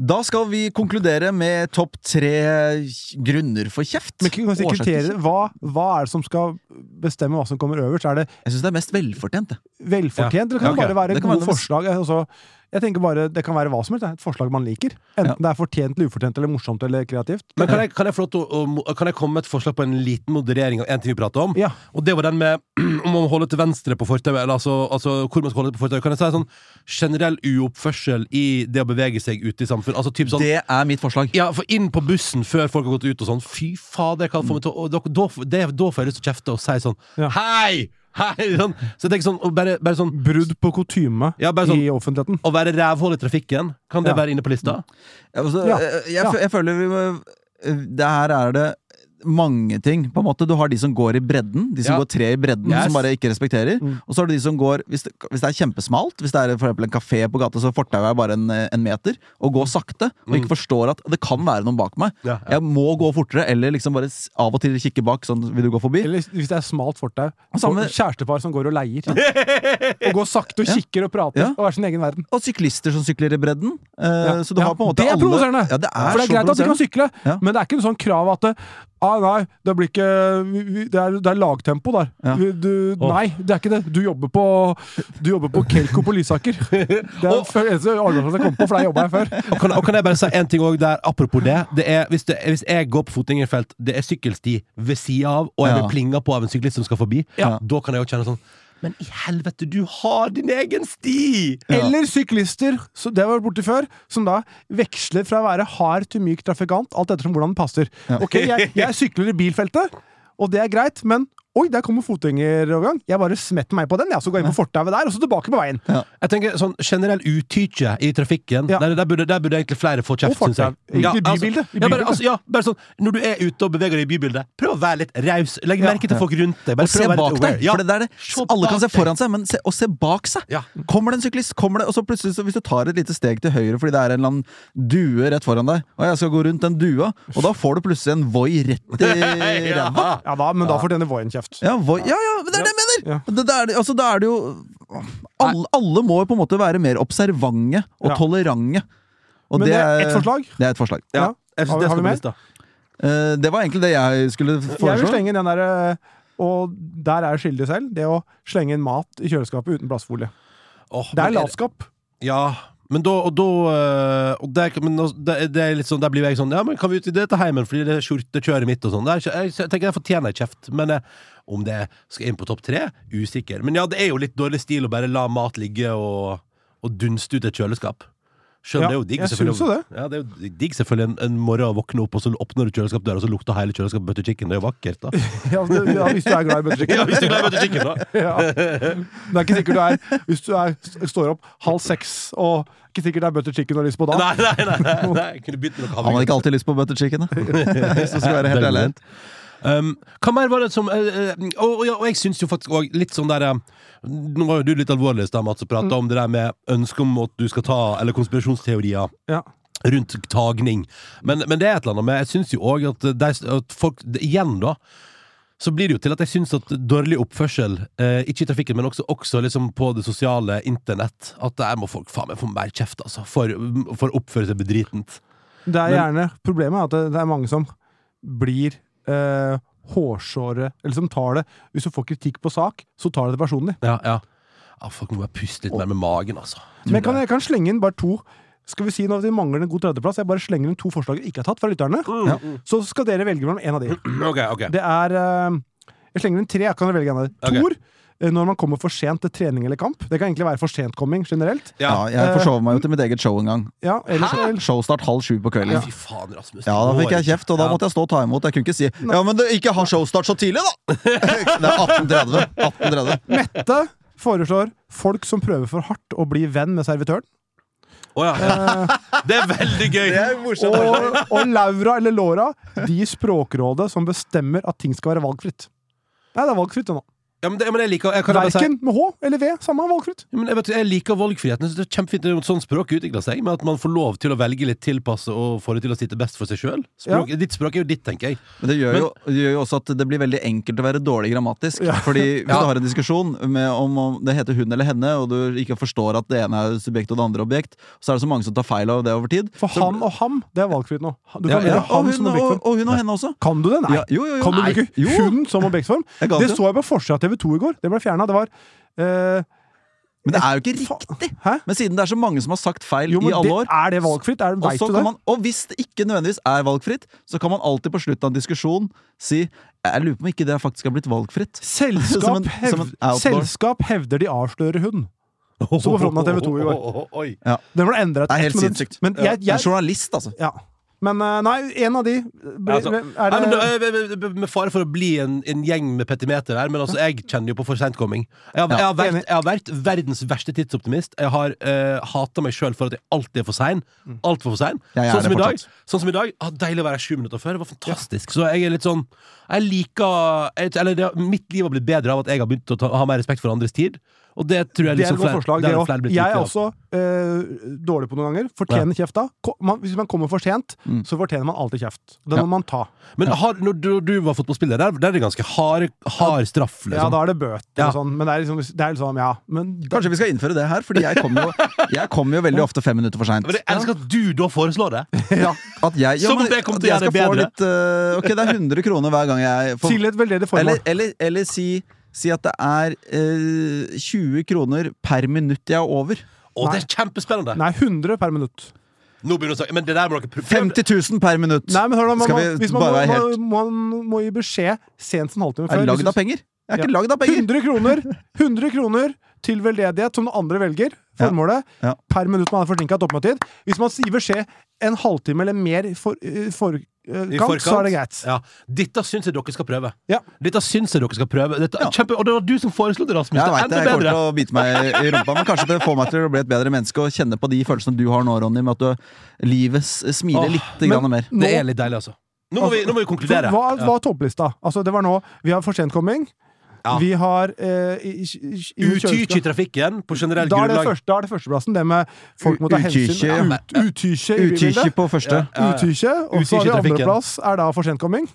Speaker 2: Da skal vi konkludere med topp tre grunner for kjeft.
Speaker 3: Men kan vi
Speaker 2: Årsaker til
Speaker 3: kriterier,
Speaker 2: kjeft.
Speaker 3: hva, hva er det som skal bestemme hva som kommer øverst? Er det
Speaker 2: Jeg syns det er mest velfortjent. det.
Speaker 3: velfortjent,
Speaker 4: Ja.
Speaker 3: eller kan
Speaker 4: Ja, ok.
Speaker 3: det bare være
Speaker 2: Det kan
Speaker 3: gode
Speaker 2: være noe-
Speaker 3: forslag? Altså, jeg tenker bare, Det kan være hva som helst. Det er et forslag man liker. Enten
Speaker 2: Ja.
Speaker 3: det er fortjent eller ufortjent eller morsomt eller kreativt.
Speaker 4: Men kan jeg, kan, jeg få lov til å, å mo- kan jeg komme med et forslag på en liten moderering av en ting vi prater om?
Speaker 3: Ja.
Speaker 4: Og det var den med om å holde til venstre på fortauet, eller altså, altså hvor man skal holde til på fortauet. Kan jeg si sånn generell uoppførsel i det å bevege seg ute i samfunnet? Altså typ sånn
Speaker 2: Det er mitt forslag.
Speaker 4: ja, for inn på bussen før folk har gått ut og sånn Fy fader, jeg kan få meg til å og da, da, det, da får jeg lyst til å kjefte og si sånn
Speaker 3: Ja.
Speaker 4: Hei! Hei! Sånn. Så jeg tenker sånn, og bare, bare sånn
Speaker 3: Brudd på kutyme
Speaker 4: Ja, bare sånn-
Speaker 3: i offentligheten.
Speaker 4: Å være rævhål i trafikken, kan det
Speaker 3: Ja.
Speaker 4: være inne på lista?
Speaker 2: Altså,
Speaker 3: Ja.
Speaker 2: Jeg, jeg,
Speaker 3: Ja.
Speaker 2: fø- jeg føler vi må- Det her er det mange ting. på en måte Du har de som går i bredden, de som
Speaker 4: Ja.
Speaker 2: går tre i bredden,
Speaker 4: Yes.
Speaker 2: som bare ikke respekterer.
Speaker 3: Mm.
Speaker 2: Og så har du de som går Hvis det, hvis det er kjempesmalt, hvis det er for eksempel en kafé på gata, så fortauet er bare en, eh, en meter, og går sakte, og
Speaker 4: Mm.
Speaker 2: ikke forstår at det kan være noen bak meg.
Speaker 4: Ja, ja.
Speaker 2: Jeg må gå fortere, eller liksom bare s- av og til kikke bak, sånn vil du gå forbi?
Speaker 3: Eller hvis det er smalt fortau.
Speaker 2: Samme-
Speaker 3: Kjærestepar som går og leier. Og går sakte og kikker og prater
Speaker 2: Ja.
Speaker 3: og er sin egen verden.
Speaker 2: Og syklister som sykler i bredden. Eh, Så du
Speaker 3: Ja,
Speaker 2: har på en måte
Speaker 3: det er
Speaker 2: alle-
Speaker 3: provoserende!
Speaker 2: Ja, det er
Speaker 3: For det er
Speaker 2: så
Speaker 3: greit at de kan
Speaker 2: provoserende.
Speaker 3: sykle,
Speaker 2: Ja.
Speaker 3: men det er ikke en sånn krav at det, ah, nei, det, blir ikke, vi- vi- det, er, det er lagtempo der.
Speaker 2: Ja.
Speaker 3: Vi- Du,
Speaker 4: Åh.
Speaker 3: nei, det er ikke det. Du jobber på, du jobber på Kelko på Lysaker. Det er
Speaker 4: Åh.
Speaker 3: før- eneste arbeidsplassen jeg kom på, for der jobba jeg før.
Speaker 4: Og kan, og kan jeg bare si en ting også der, apropos det. det er, hvis, det hvis jeg går på fotgjengerfelt, det er sykkelsti ved sida av, og jeg
Speaker 2: Ja.
Speaker 4: blir plinga på av en syklist som skal forbi,
Speaker 2: Ja.
Speaker 4: da kan jeg jo kjenne sånn Men i helvete, du har din egen sti!
Speaker 3: Eller syklister, så det var borti før, som da veksler fra å være hard til myk trafikant, alt ettersom hvordan den passer. Ok, jeg, jeg sykler i bilfeltet, og det er greit, men Oi, der kommer fotgjengerovergang. Jeg bare smetter meg på den, jeg, så går jeg inn på fortauet der, og så tilbake på veien.
Speaker 4: Jeg tenker sånn generell utykje i trafikken.
Speaker 3: Ja.
Speaker 4: Der, der, burde, der burde egentlig flere få
Speaker 3: Og
Speaker 4: kjeft,
Speaker 3: fortau.
Speaker 4: synes
Speaker 3: Egentlig
Speaker 4: jeg.
Speaker 3: i
Speaker 4: altså,
Speaker 3: bybildet. I
Speaker 4: ja, bare,
Speaker 3: bybildet.
Speaker 4: altså, ja, bare sånn Når du er ute og beveger deg i bybildet, prøv å være litt raus. Legg merke til folk rundt deg. Bare
Speaker 2: Og se
Speaker 4: prøv å være
Speaker 2: bak
Speaker 4: litt
Speaker 2: deg.
Speaker 4: aware. Ja.
Speaker 2: For det der, er det.
Speaker 4: Se
Speaker 2: Alle kan
Speaker 4: bak
Speaker 2: se
Speaker 4: deg.
Speaker 2: foran seg, men se, og se bak seg.
Speaker 4: Ja.
Speaker 2: Kommer det en syklist, kommer det, og så plutselig så hvis du tar et lite steg til høyre fordi det er en eller annen due rett foran deg, og jeg skal gå rundt den dua, og da får du plutselig en Voi rett i
Speaker 4: Ja.
Speaker 2: ræva.
Speaker 3: Ja da, men da fortjener Voien kjeft.
Speaker 2: Ja, voi, ja, ja, men det er det jeg mener!
Speaker 3: Ja.
Speaker 2: Det, det er, det- altså, da er det jo alle, alle må jo på en måte være mer observante og
Speaker 3: Ja.
Speaker 2: tolerante. Og
Speaker 3: Men det er ett forslag.
Speaker 2: Det er et forslag.
Speaker 4: Ja, jeg
Speaker 3: Har
Speaker 4: synes
Speaker 3: vi-
Speaker 4: det
Speaker 3: har
Speaker 4: skal
Speaker 3: vi
Speaker 4: på
Speaker 3: mer?
Speaker 4: lista.
Speaker 2: Eh, det var egentlig det jeg skulle
Speaker 3: Jeg vil
Speaker 2: foreslå.
Speaker 3: slenge inn den derre Og der er jeg skyldig selv. Det å slenge inn mat i kjøleskapet uten plastfolie.
Speaker 4: Åh,
Speaker 3: Det er
Speaker 4: men
Speaker 3: latskap.
Speaker 4: Ja, men da og da øh, og der, men nå- det, det er litt sånn, der blir jeg sånn Ja, men kan vi utvide det til heimen, fordi det er skjortekjøret mitt og sånn. Det er ikke- Jeg, jeg tenker jeg fortjener en kjeft, men eh, om det skal inn på topp tre, usikker. Men ja, det er jo litt dårlig stil å bare la mat ligge og, og dunste ut et kjøleskap. Skjønner
Speaker 3: Ja,
Speaker 4: det er jo digg,
Speaker 3: jeg
Speaker 4: selvfølgelig.
Speaker 3: syns jo det.
Speaker 4: Ja, det er jo digg selvfølgelig en, en morgen å våkne opp, og så åpner du kjøleskapsdøra, og så lukter hele kjøleskapet butter chicken. Det er jo vakkert, da.
Speaker 3: Ja, altså, det- ja, hvis du er glad i butter
Speaker 4: Ja,
Speaker 3: chicken.
Speaker 4: hvis du klarer butter chicken, da.
Speaker 3: Ja. Det er ikke sikkert du er Hvis du er, står opp halv seks og ikke sikkert det er butter chicken du har lyst på da.
Speaker 4: Nei, nei, nei, nei, nei. Jeg kunne bytte med noe
Speaker 2: Han
Speaker 4: havregryn.
Speaker 2: hadde ikke alltid lyst på butter chicken. da. Hvis jeg skal være helt
Speaker 4: Det er
Speaker 2: ærlig.
Speaker 4: Um, hva mer var det som eh, eh, og, og, ja, og jeg syns jo faktisk òg litt sånn der eh, Nå var jo du litt alvorlig i stad, Mats, og prata om det der med ønsket om at du skal ta Eller konspirasjonsteorier
Speaker 3: Ja.
Speaker 4: rundt tagning. Men, men det er et eller annet med Jeg syns jo òg at, de, at folk Igjen, da. Så blir det jo til at jeg syns at dårlig oppførsel, eh, ikke i trafikken, men også, også liksom på det sosiale internett At der må folk faen meg få mer kjeft, altså. For, for å oppføre seg bedritent.
Speaker 3: Det er gjerne Problemet er at det, det er mange som blir eh, hårsåre Eller som tar det Hvis du får kritikk på sak, så tar de det personlig.
Speaker 4: Ja, ja. ja folk må bare puste litt mer med magen, altså.
Speaker 3: Men jeg kan, jeg kan slenge inn bare to Skal vi si nå at vi mangler en god tredjeplass? Jeg bare slenger inn to forslag jeg ikke har tatt fra lytterne.
Speaker 4: Mm,
Speaker 3: Så skal dere velge mellom en av de.
Speaker 4: Ok, ok.
Speaker 3: Det er eh, Jeg slenger inn tre. Jeg kan velge en av de.
Speaker 4: Ok.
Speaker 3: Tor. eh, Når man kommer for sent til trening eller kamp. Det kan egentlig være for sentkomming generelt.
Speaker 2: Ja, jeg forsov meg jo til mitt eget show en gang.
Speaker 3: Ja, ellers, eller,
Speaker 2: Showstart halv sju på kvelden.
Speaker 4: Fy faen, Rasmus.
Speaker 2: Ja, da fikk jeg kjeft, og da
Speaker 4: Ja.
Speaker 2: måtte jeg stå og ta imot. Jeg kunne ikke si Ja, men du, ikke ha showstart så tidlig, da! Det er 18.30. 18.30
Speaker 3: Mette foreslår folk som prøver for hardt å bli venn med servitøren.
Speaker 4: Å, ja. Det er veldig gøy!
Speaker 3: Og, og Laura eller Laura, de i Språkrådet som bestemmer at ting skal være valgfritt. Nei, det er valgfritt ennå.
Speaker 4: Ja, men det, men jeg liker jeg kan bare si,
Speaker 3: Verken med H eller V. Samme valgfritt.
Speaker 4: Ja, men jeg, vet, jeg liker valgfriheten. Jeg synes Det er kjempefint at sånn språk utvikler seg, men at man får lov til å velge litt tilpasset og får det til å sitte best for seg sjøl.
Speaker 3: Ja.
Speaker 4: Ditt språk er jo ditt, tenker jeg.
Speaker 2: Men det gjør, jo, det gjør jo også at det blir veldig enkelt å være dårlig grammatisk. Fordi hvis
Speaker 4: Ja.
Speaker 2: du har en diskusjon med om, om det heter hun eller henne, og du ikke forstår at det ene er subjekt og det andre er objekt, så er det så mange som tar feil av det over tid.
Speaker 3: For
Speaker 2: Så-
Speaker 3: ham og ham, det er valgfritt nå. Du kan
Speaker 4: Ja,
Speaker 2: ja,
Speaker 3: velge
Speaker 2: og,
Speaker 3: ham
Speaker 2: hun,
Speaker 3: som
Speaker 2: og,
Speaker 3: objektform.
Speaker 2: og hun og henne også.
Speaker 3: Kan du det? Nei.
Speaker 2: Ja, jo, jo, jo.
Speaker 3: Kan du
Speaker 2: Nei.
Speaker 3: bruke
Speaker 2: Jo.
Speaker 3: hun som objektform?
Speaker 2: Jeg ga
Speaker 3: Det
Speaker 2: det.
Speaker 3: så jeg på forsida av TV 2 i går. Det ble fjerna. Det var eh,
Speaker 2: Men det er jo ikke riktig!
Speaker 3: Hæ?
Speaker 2: Men siden det er så mange som har sagt feil
Speaker 3: Jo,
Speaker 2: i
Speaker 3: men
Speaker 2: alle
Speaker 3: det,
Speaker 2: år
Speaker 3: er det valgfritt? Er,
Speaker 2: og,
Speaker 3: vet
Speaker 2: så
Speaker 3: du
Speaker 2: kan
Speaker 3: det?
Speaker 2: man, og hvis det ikke nødvendigvis er valgfritt, så kan man alltid på slutten av en diskusjon si Jeg lurer på om ikke det faktisk har blitt valgfritt.
Speaker 3: Selskap,
Speaker 2: Som en-
Speaker 3: hevd-
Speaker 2: som en outlaw.
Speaker 3: Selskap hevder de avslører hund. Så på fronten av TV 2 i går.
Speaker 4: Oi.
Speaker 3: Den ble endra
Speaker 2: Det er helt
Speaker 3: men,
Speaker 2: sinnssykt.
Speaker 3: men jeg,
Speaker 2: En
Speaker 3: jeg
Speaker 2: journalist, altså.
Speaker 3: ja. Men eh, nei, en av de ble,
Speaker 4: Altså,
Speaker 3: er
Speaker 4: Nei,
Speaker 3: det,
Speaker 4: men, da- eh, med fare for å bli en, en gjeng med petimeter her, men altså, jeg kjenner jo på for sentkomming. Jeg, har- jeg, har vært-
Speaker 3: enig.
Speaker 4: jeg har vært verdens verste tidsoptimist. Jeg har uh, hata meg sjøl for at jeg alltid er for sein. Altfor for sein.
Speaker 2: Jeg er
Speaker 4: Sånn som,
Speaker 2: det
Speaker 4: i dag,
Speaker 2: fortsatt.
Speaker 4: sånn som i dag. Ah, deilig å være sju minutter før. Det var fantastisk. Så jeg er litt sånn Jeg liker jeg, Eller det, har- mitt liv har blitt bedre av at jeg har begynt å ta, ha mer respekt for andres tid. Og det tror jeg
Speaker 3: det er
Speaker 4: liksom
Speaker 3: et godt forslag.
Speaker 4: det
Speaker 3: Det
Speaker 4: har
Speaker 3: også.
Speaker 4: flere blitt
Speaker 3: jeg
Speaker 4: like
Speaker 3: er
Speaker 4: av.
Speaker 3: også eh, dårlig på noen ganger. Fortjener kjeft da. Ko- Man, hvis man kommer for sent,
Speaker 2: Mm.
Speaker 3: så fortjener man alltid kjeft. Den må man ta.
Speaker 4: Men har, når du, du var fotballspiller, der, der er det ganske hard, hard straff,
Speaker 3: Ja,
Speaker 4: liksom.
Speaker 3: da er det bøter
Speaker 4: Ja.
Speaker 3: og sånn, men det er liksom, det er liksom ja. Men da,
Speaker 2: Kanskje vi skal innføre det her, Fordi jeg kommer jo, jeg kom jo veldig ofte fem minutter for seint.
Speaker 4: men jeg elsker at du da foreslår det!
Speaker 3: ja.
Speaker 2: At jeg,
Speaker 4: Som om
Speaker 2: men
Speaker 4: det kommer
Speaker 2: at
Speaker 4: til å
Speaker 2: jeg skal få
Speaker 4: gjøre det bedre.
Speaker 2: litt eh, Ok, det er 100 kroner hver gang jeg får
Speaker 3: Til et veldedig formål.
Speaker 2: Eller, eller, eller si, si at det er eh, 20 kroner per minutt jeg er over.
Speaker 4: Og det er kjempespennende!
Speaker 3: Nei, 100 per minutt.
Speaker 4: Nå begynner du å snakke Men det der må dere prøve
Speaker 2: 50 000 per minutt!
Speaker 3: Nei, men hør da, man,
Speaker 2: Skal
Speaker 3: må-
Speaker 2: vi
Speaker 3: hvis man,
Speaker 2: bare
Speaker 3: må,
Speaker 2: være helt-
Speaker 3: man, man må gi beskjed senest en halvtime
Speaker 2: jeg
Speaker 3: før.
Speaker 2: er
Speaker 3: hvis
Speaker 2: lagd
Speaker 3: du-
Speaker 2: av penger! Jeg er
Speaker 3: Ja.
Speaker 2: ikke lagd av penger!
Speaker 3: 100 kroner, 100 kroner til veldedighet som den andre velger, formålet,
Speaker 2: Ja.
Speaker 3: per minutt man er forsinka til oppmøtetid. Hvis man gir beskjed en halvtime eller mer i for, i forkant,
Speaker 4: I forkant.
Speaker 3: så er det greit.
Speaker 4: Ja. Dette syns jeg dere skal prøve.
Speaker 3: Ja.
Speaker 4: Dette syns jeg dere skal prøve Dette, kjempe, Og det var du som foreslo det, Rasmus.
Speaker 2: Jeg
Speaker 4: det er
Speaker 2: vet det,
Speaker 4: enda
Speaker 2: jeg kommer
Speaker 4: bedre.
Speaker 2: til å bite meg i- i rumpa, men kanskje det får meg til å bli et bedre menneske og kjenne på de følelsene du har nå, Ronny, med at du livet s- smiler
Speaker 4: Åh,
Speaker 2: litt
Speaker 3: men-
Speaker 2: grann mer.
Speaker 3: Nå-
Speaker 4: Det er litt deilig, altså. Nå må vi, nå må vi
Speaker 3: For
Speaker 4: konkludere.
Speaker 3: hva
Speaker 4: Ja.
Speaker 3: var topplista? Altså, det var nå Vi har for sentkomming.
Speaker 4: Ja.
Speaker 3: Vi har eh, i- i- i- i-
Speaker 4: Utyk i trafikken
Speaker 3: Da
Speaker 4: på
Speaker 3: er,
Speaker 4: generell
Speaker 3: det
Speaker 4: grunnlag.
Speaker 3: første, da er det førsteplassen. Det med folk må ta
Speaker 2: U-
Speaker 3: hensyn.
Speaker 2: utykje, ja.
Speaker 3: ut, utykje i
Speaker 2: Utykje
Speaker 3: bybildet.
Speaker 2: på første.
Speaker 4: Ja, ja.
Speaker 3: Utykje. Og så
Speaker 4: Utykje i
Speaker 3: har vi
Speaker 4: trafikken.
Speaker 3: andreplass er da for sentkomming.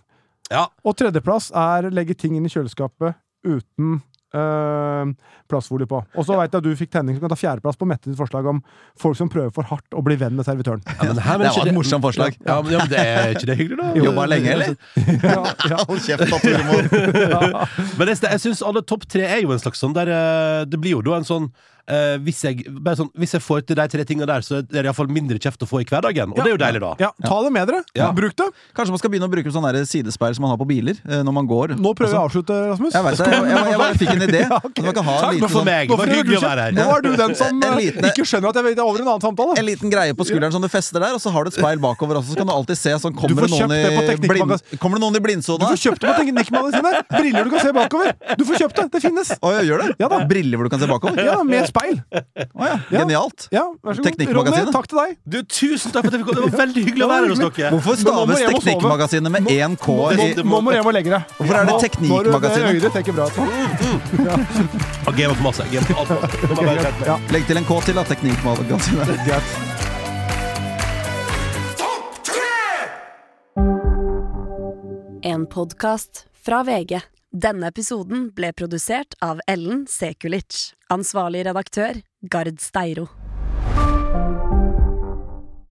Speaker 4: Ja.
Speaker 3: Og tredjeplass er legge ting inn i kjøleskapet uten eh, plastfolie på. Og så vet jeg at du fikk tenning som kan ta fjerdeplass på Mette sitt forslag om folk som prøver for hardt å bli venn med servitøren.
Speaker 4: Ja, men her, men
Speaker 2: Det var
Speaker 4: ikke
Speaker 2: et morsomt forslag.
Speaker 4: Ja, men, ja, men det er ikke det hyggelig, da?
Speaker 2: Jo. Jobba lenge, eller?
Speaker 3: Ja, ja.
Speaker 2: Hold kjeft, da, Tormod!
Speaker 4: Men jeg, jeg synes alle topp tre er jo en slags sånn der eh, Det blir jo da en sånn eh, hvis, jeg, bare sånn hvis jeg får til de tre tingene der, så er det iallfall mindre kjeft å få i hverdagen. Og det er jo deilig, da.
Speaker 3: ja, ta det med dere.
Speaker 4: Ja.
Speaker 3: Bruk det.
Speaker 2: Kanskje man skal begynne å bruke sånn der sidespeil som man har på biler eh, når man går.
Speaker 3: Nå prøver jeg å avslutte, Rasmus.
Speaker 2: Jeg vet det, jeg, jeg, jeg, bare fikk en idé.
Speaker 3: Ja, ok.
Speaker 2: At man kan ha en
Speaker 4: Takk
Speaker 2: liten,
Speaker 4: nå for
Speaker 2: sånn,
Speaker 4: meg! Det var
Speaker 3: Hvorfor gjør du
Speaker 4: hyggelig å
Speaker 3: ikke-
Speaker 4: være
Speaker 3: Nå
Speaker 4: her.
Speaker 3: er du den som
Speaker 2: En
Speaker 3: eh,
Speaker 2: liten-
Speaker 3: ikke skjønner at jeg vet det er over i en annen samtale.
Speaker 2: sånn, en liten greie på skulderen som du fester der, og så har du et speil bakover også, så kan du alltid se sånn
Speaker 3: Du
Speaker 2: Kommer
Speaker 3: får
Speaker 2: det noen
Speaker 3: kjøpt det på
Speaker 2: i, blind,
Speaker 3: Teknikkmagasin.
Speaker 2: kommer det noen i
Speaker 3: Du
Speaker 2: blindsona?
Speaker 3: får kjøpt det på Teknikkmagasinet. sine. Briller du kan se bakover. Du får kjøpt det. Det finnes.
Speaker 2: Å, ja, gjør det?
Speaker 3: Ja da.
Speaker 2: Briller hvor du kan se bakover?
Speaker 3: Ja, Med speil.
Speaker 2: Å ja.
Speaker 3: Ja.
Speaker 2: Genialt.
Speaker 3: Ja, vær så god. Ronny,
Speaker 2: Teknikkmagasinet.
Speaker 3: takk til deg.
Speaker 4: Du, tusen takk for at jeg fikk komme. Det var veldig hyggelig å være her hos dere.
Speaker 2: Hvorfor
Speaker 3: Men nå må
Speaker 2: staves
Speaker 3: jeg må sove.
Speaker 2: Teknikkmagasinet med én K i
Speaker 3: Nå, nå må jeg må legge deg.
Speaker 2: Hvorfor er det Teknikkmagasinet?
Speaker 3: Øyet tenker bra. ut.
Speaker 4: Og game for masse. Game for alt. Nå må jeg bare skjerpe meg.
Speaker 3: Ja,
Speaker 2: Legg til en K til, da. Teknikkmagasinet.
Speaker 3: greit.
Speaker 1: En podkast fra VG. Denne episoden ble produsert av Ellen Sekulic. Ansvarlig redaktør, Gard Steiro.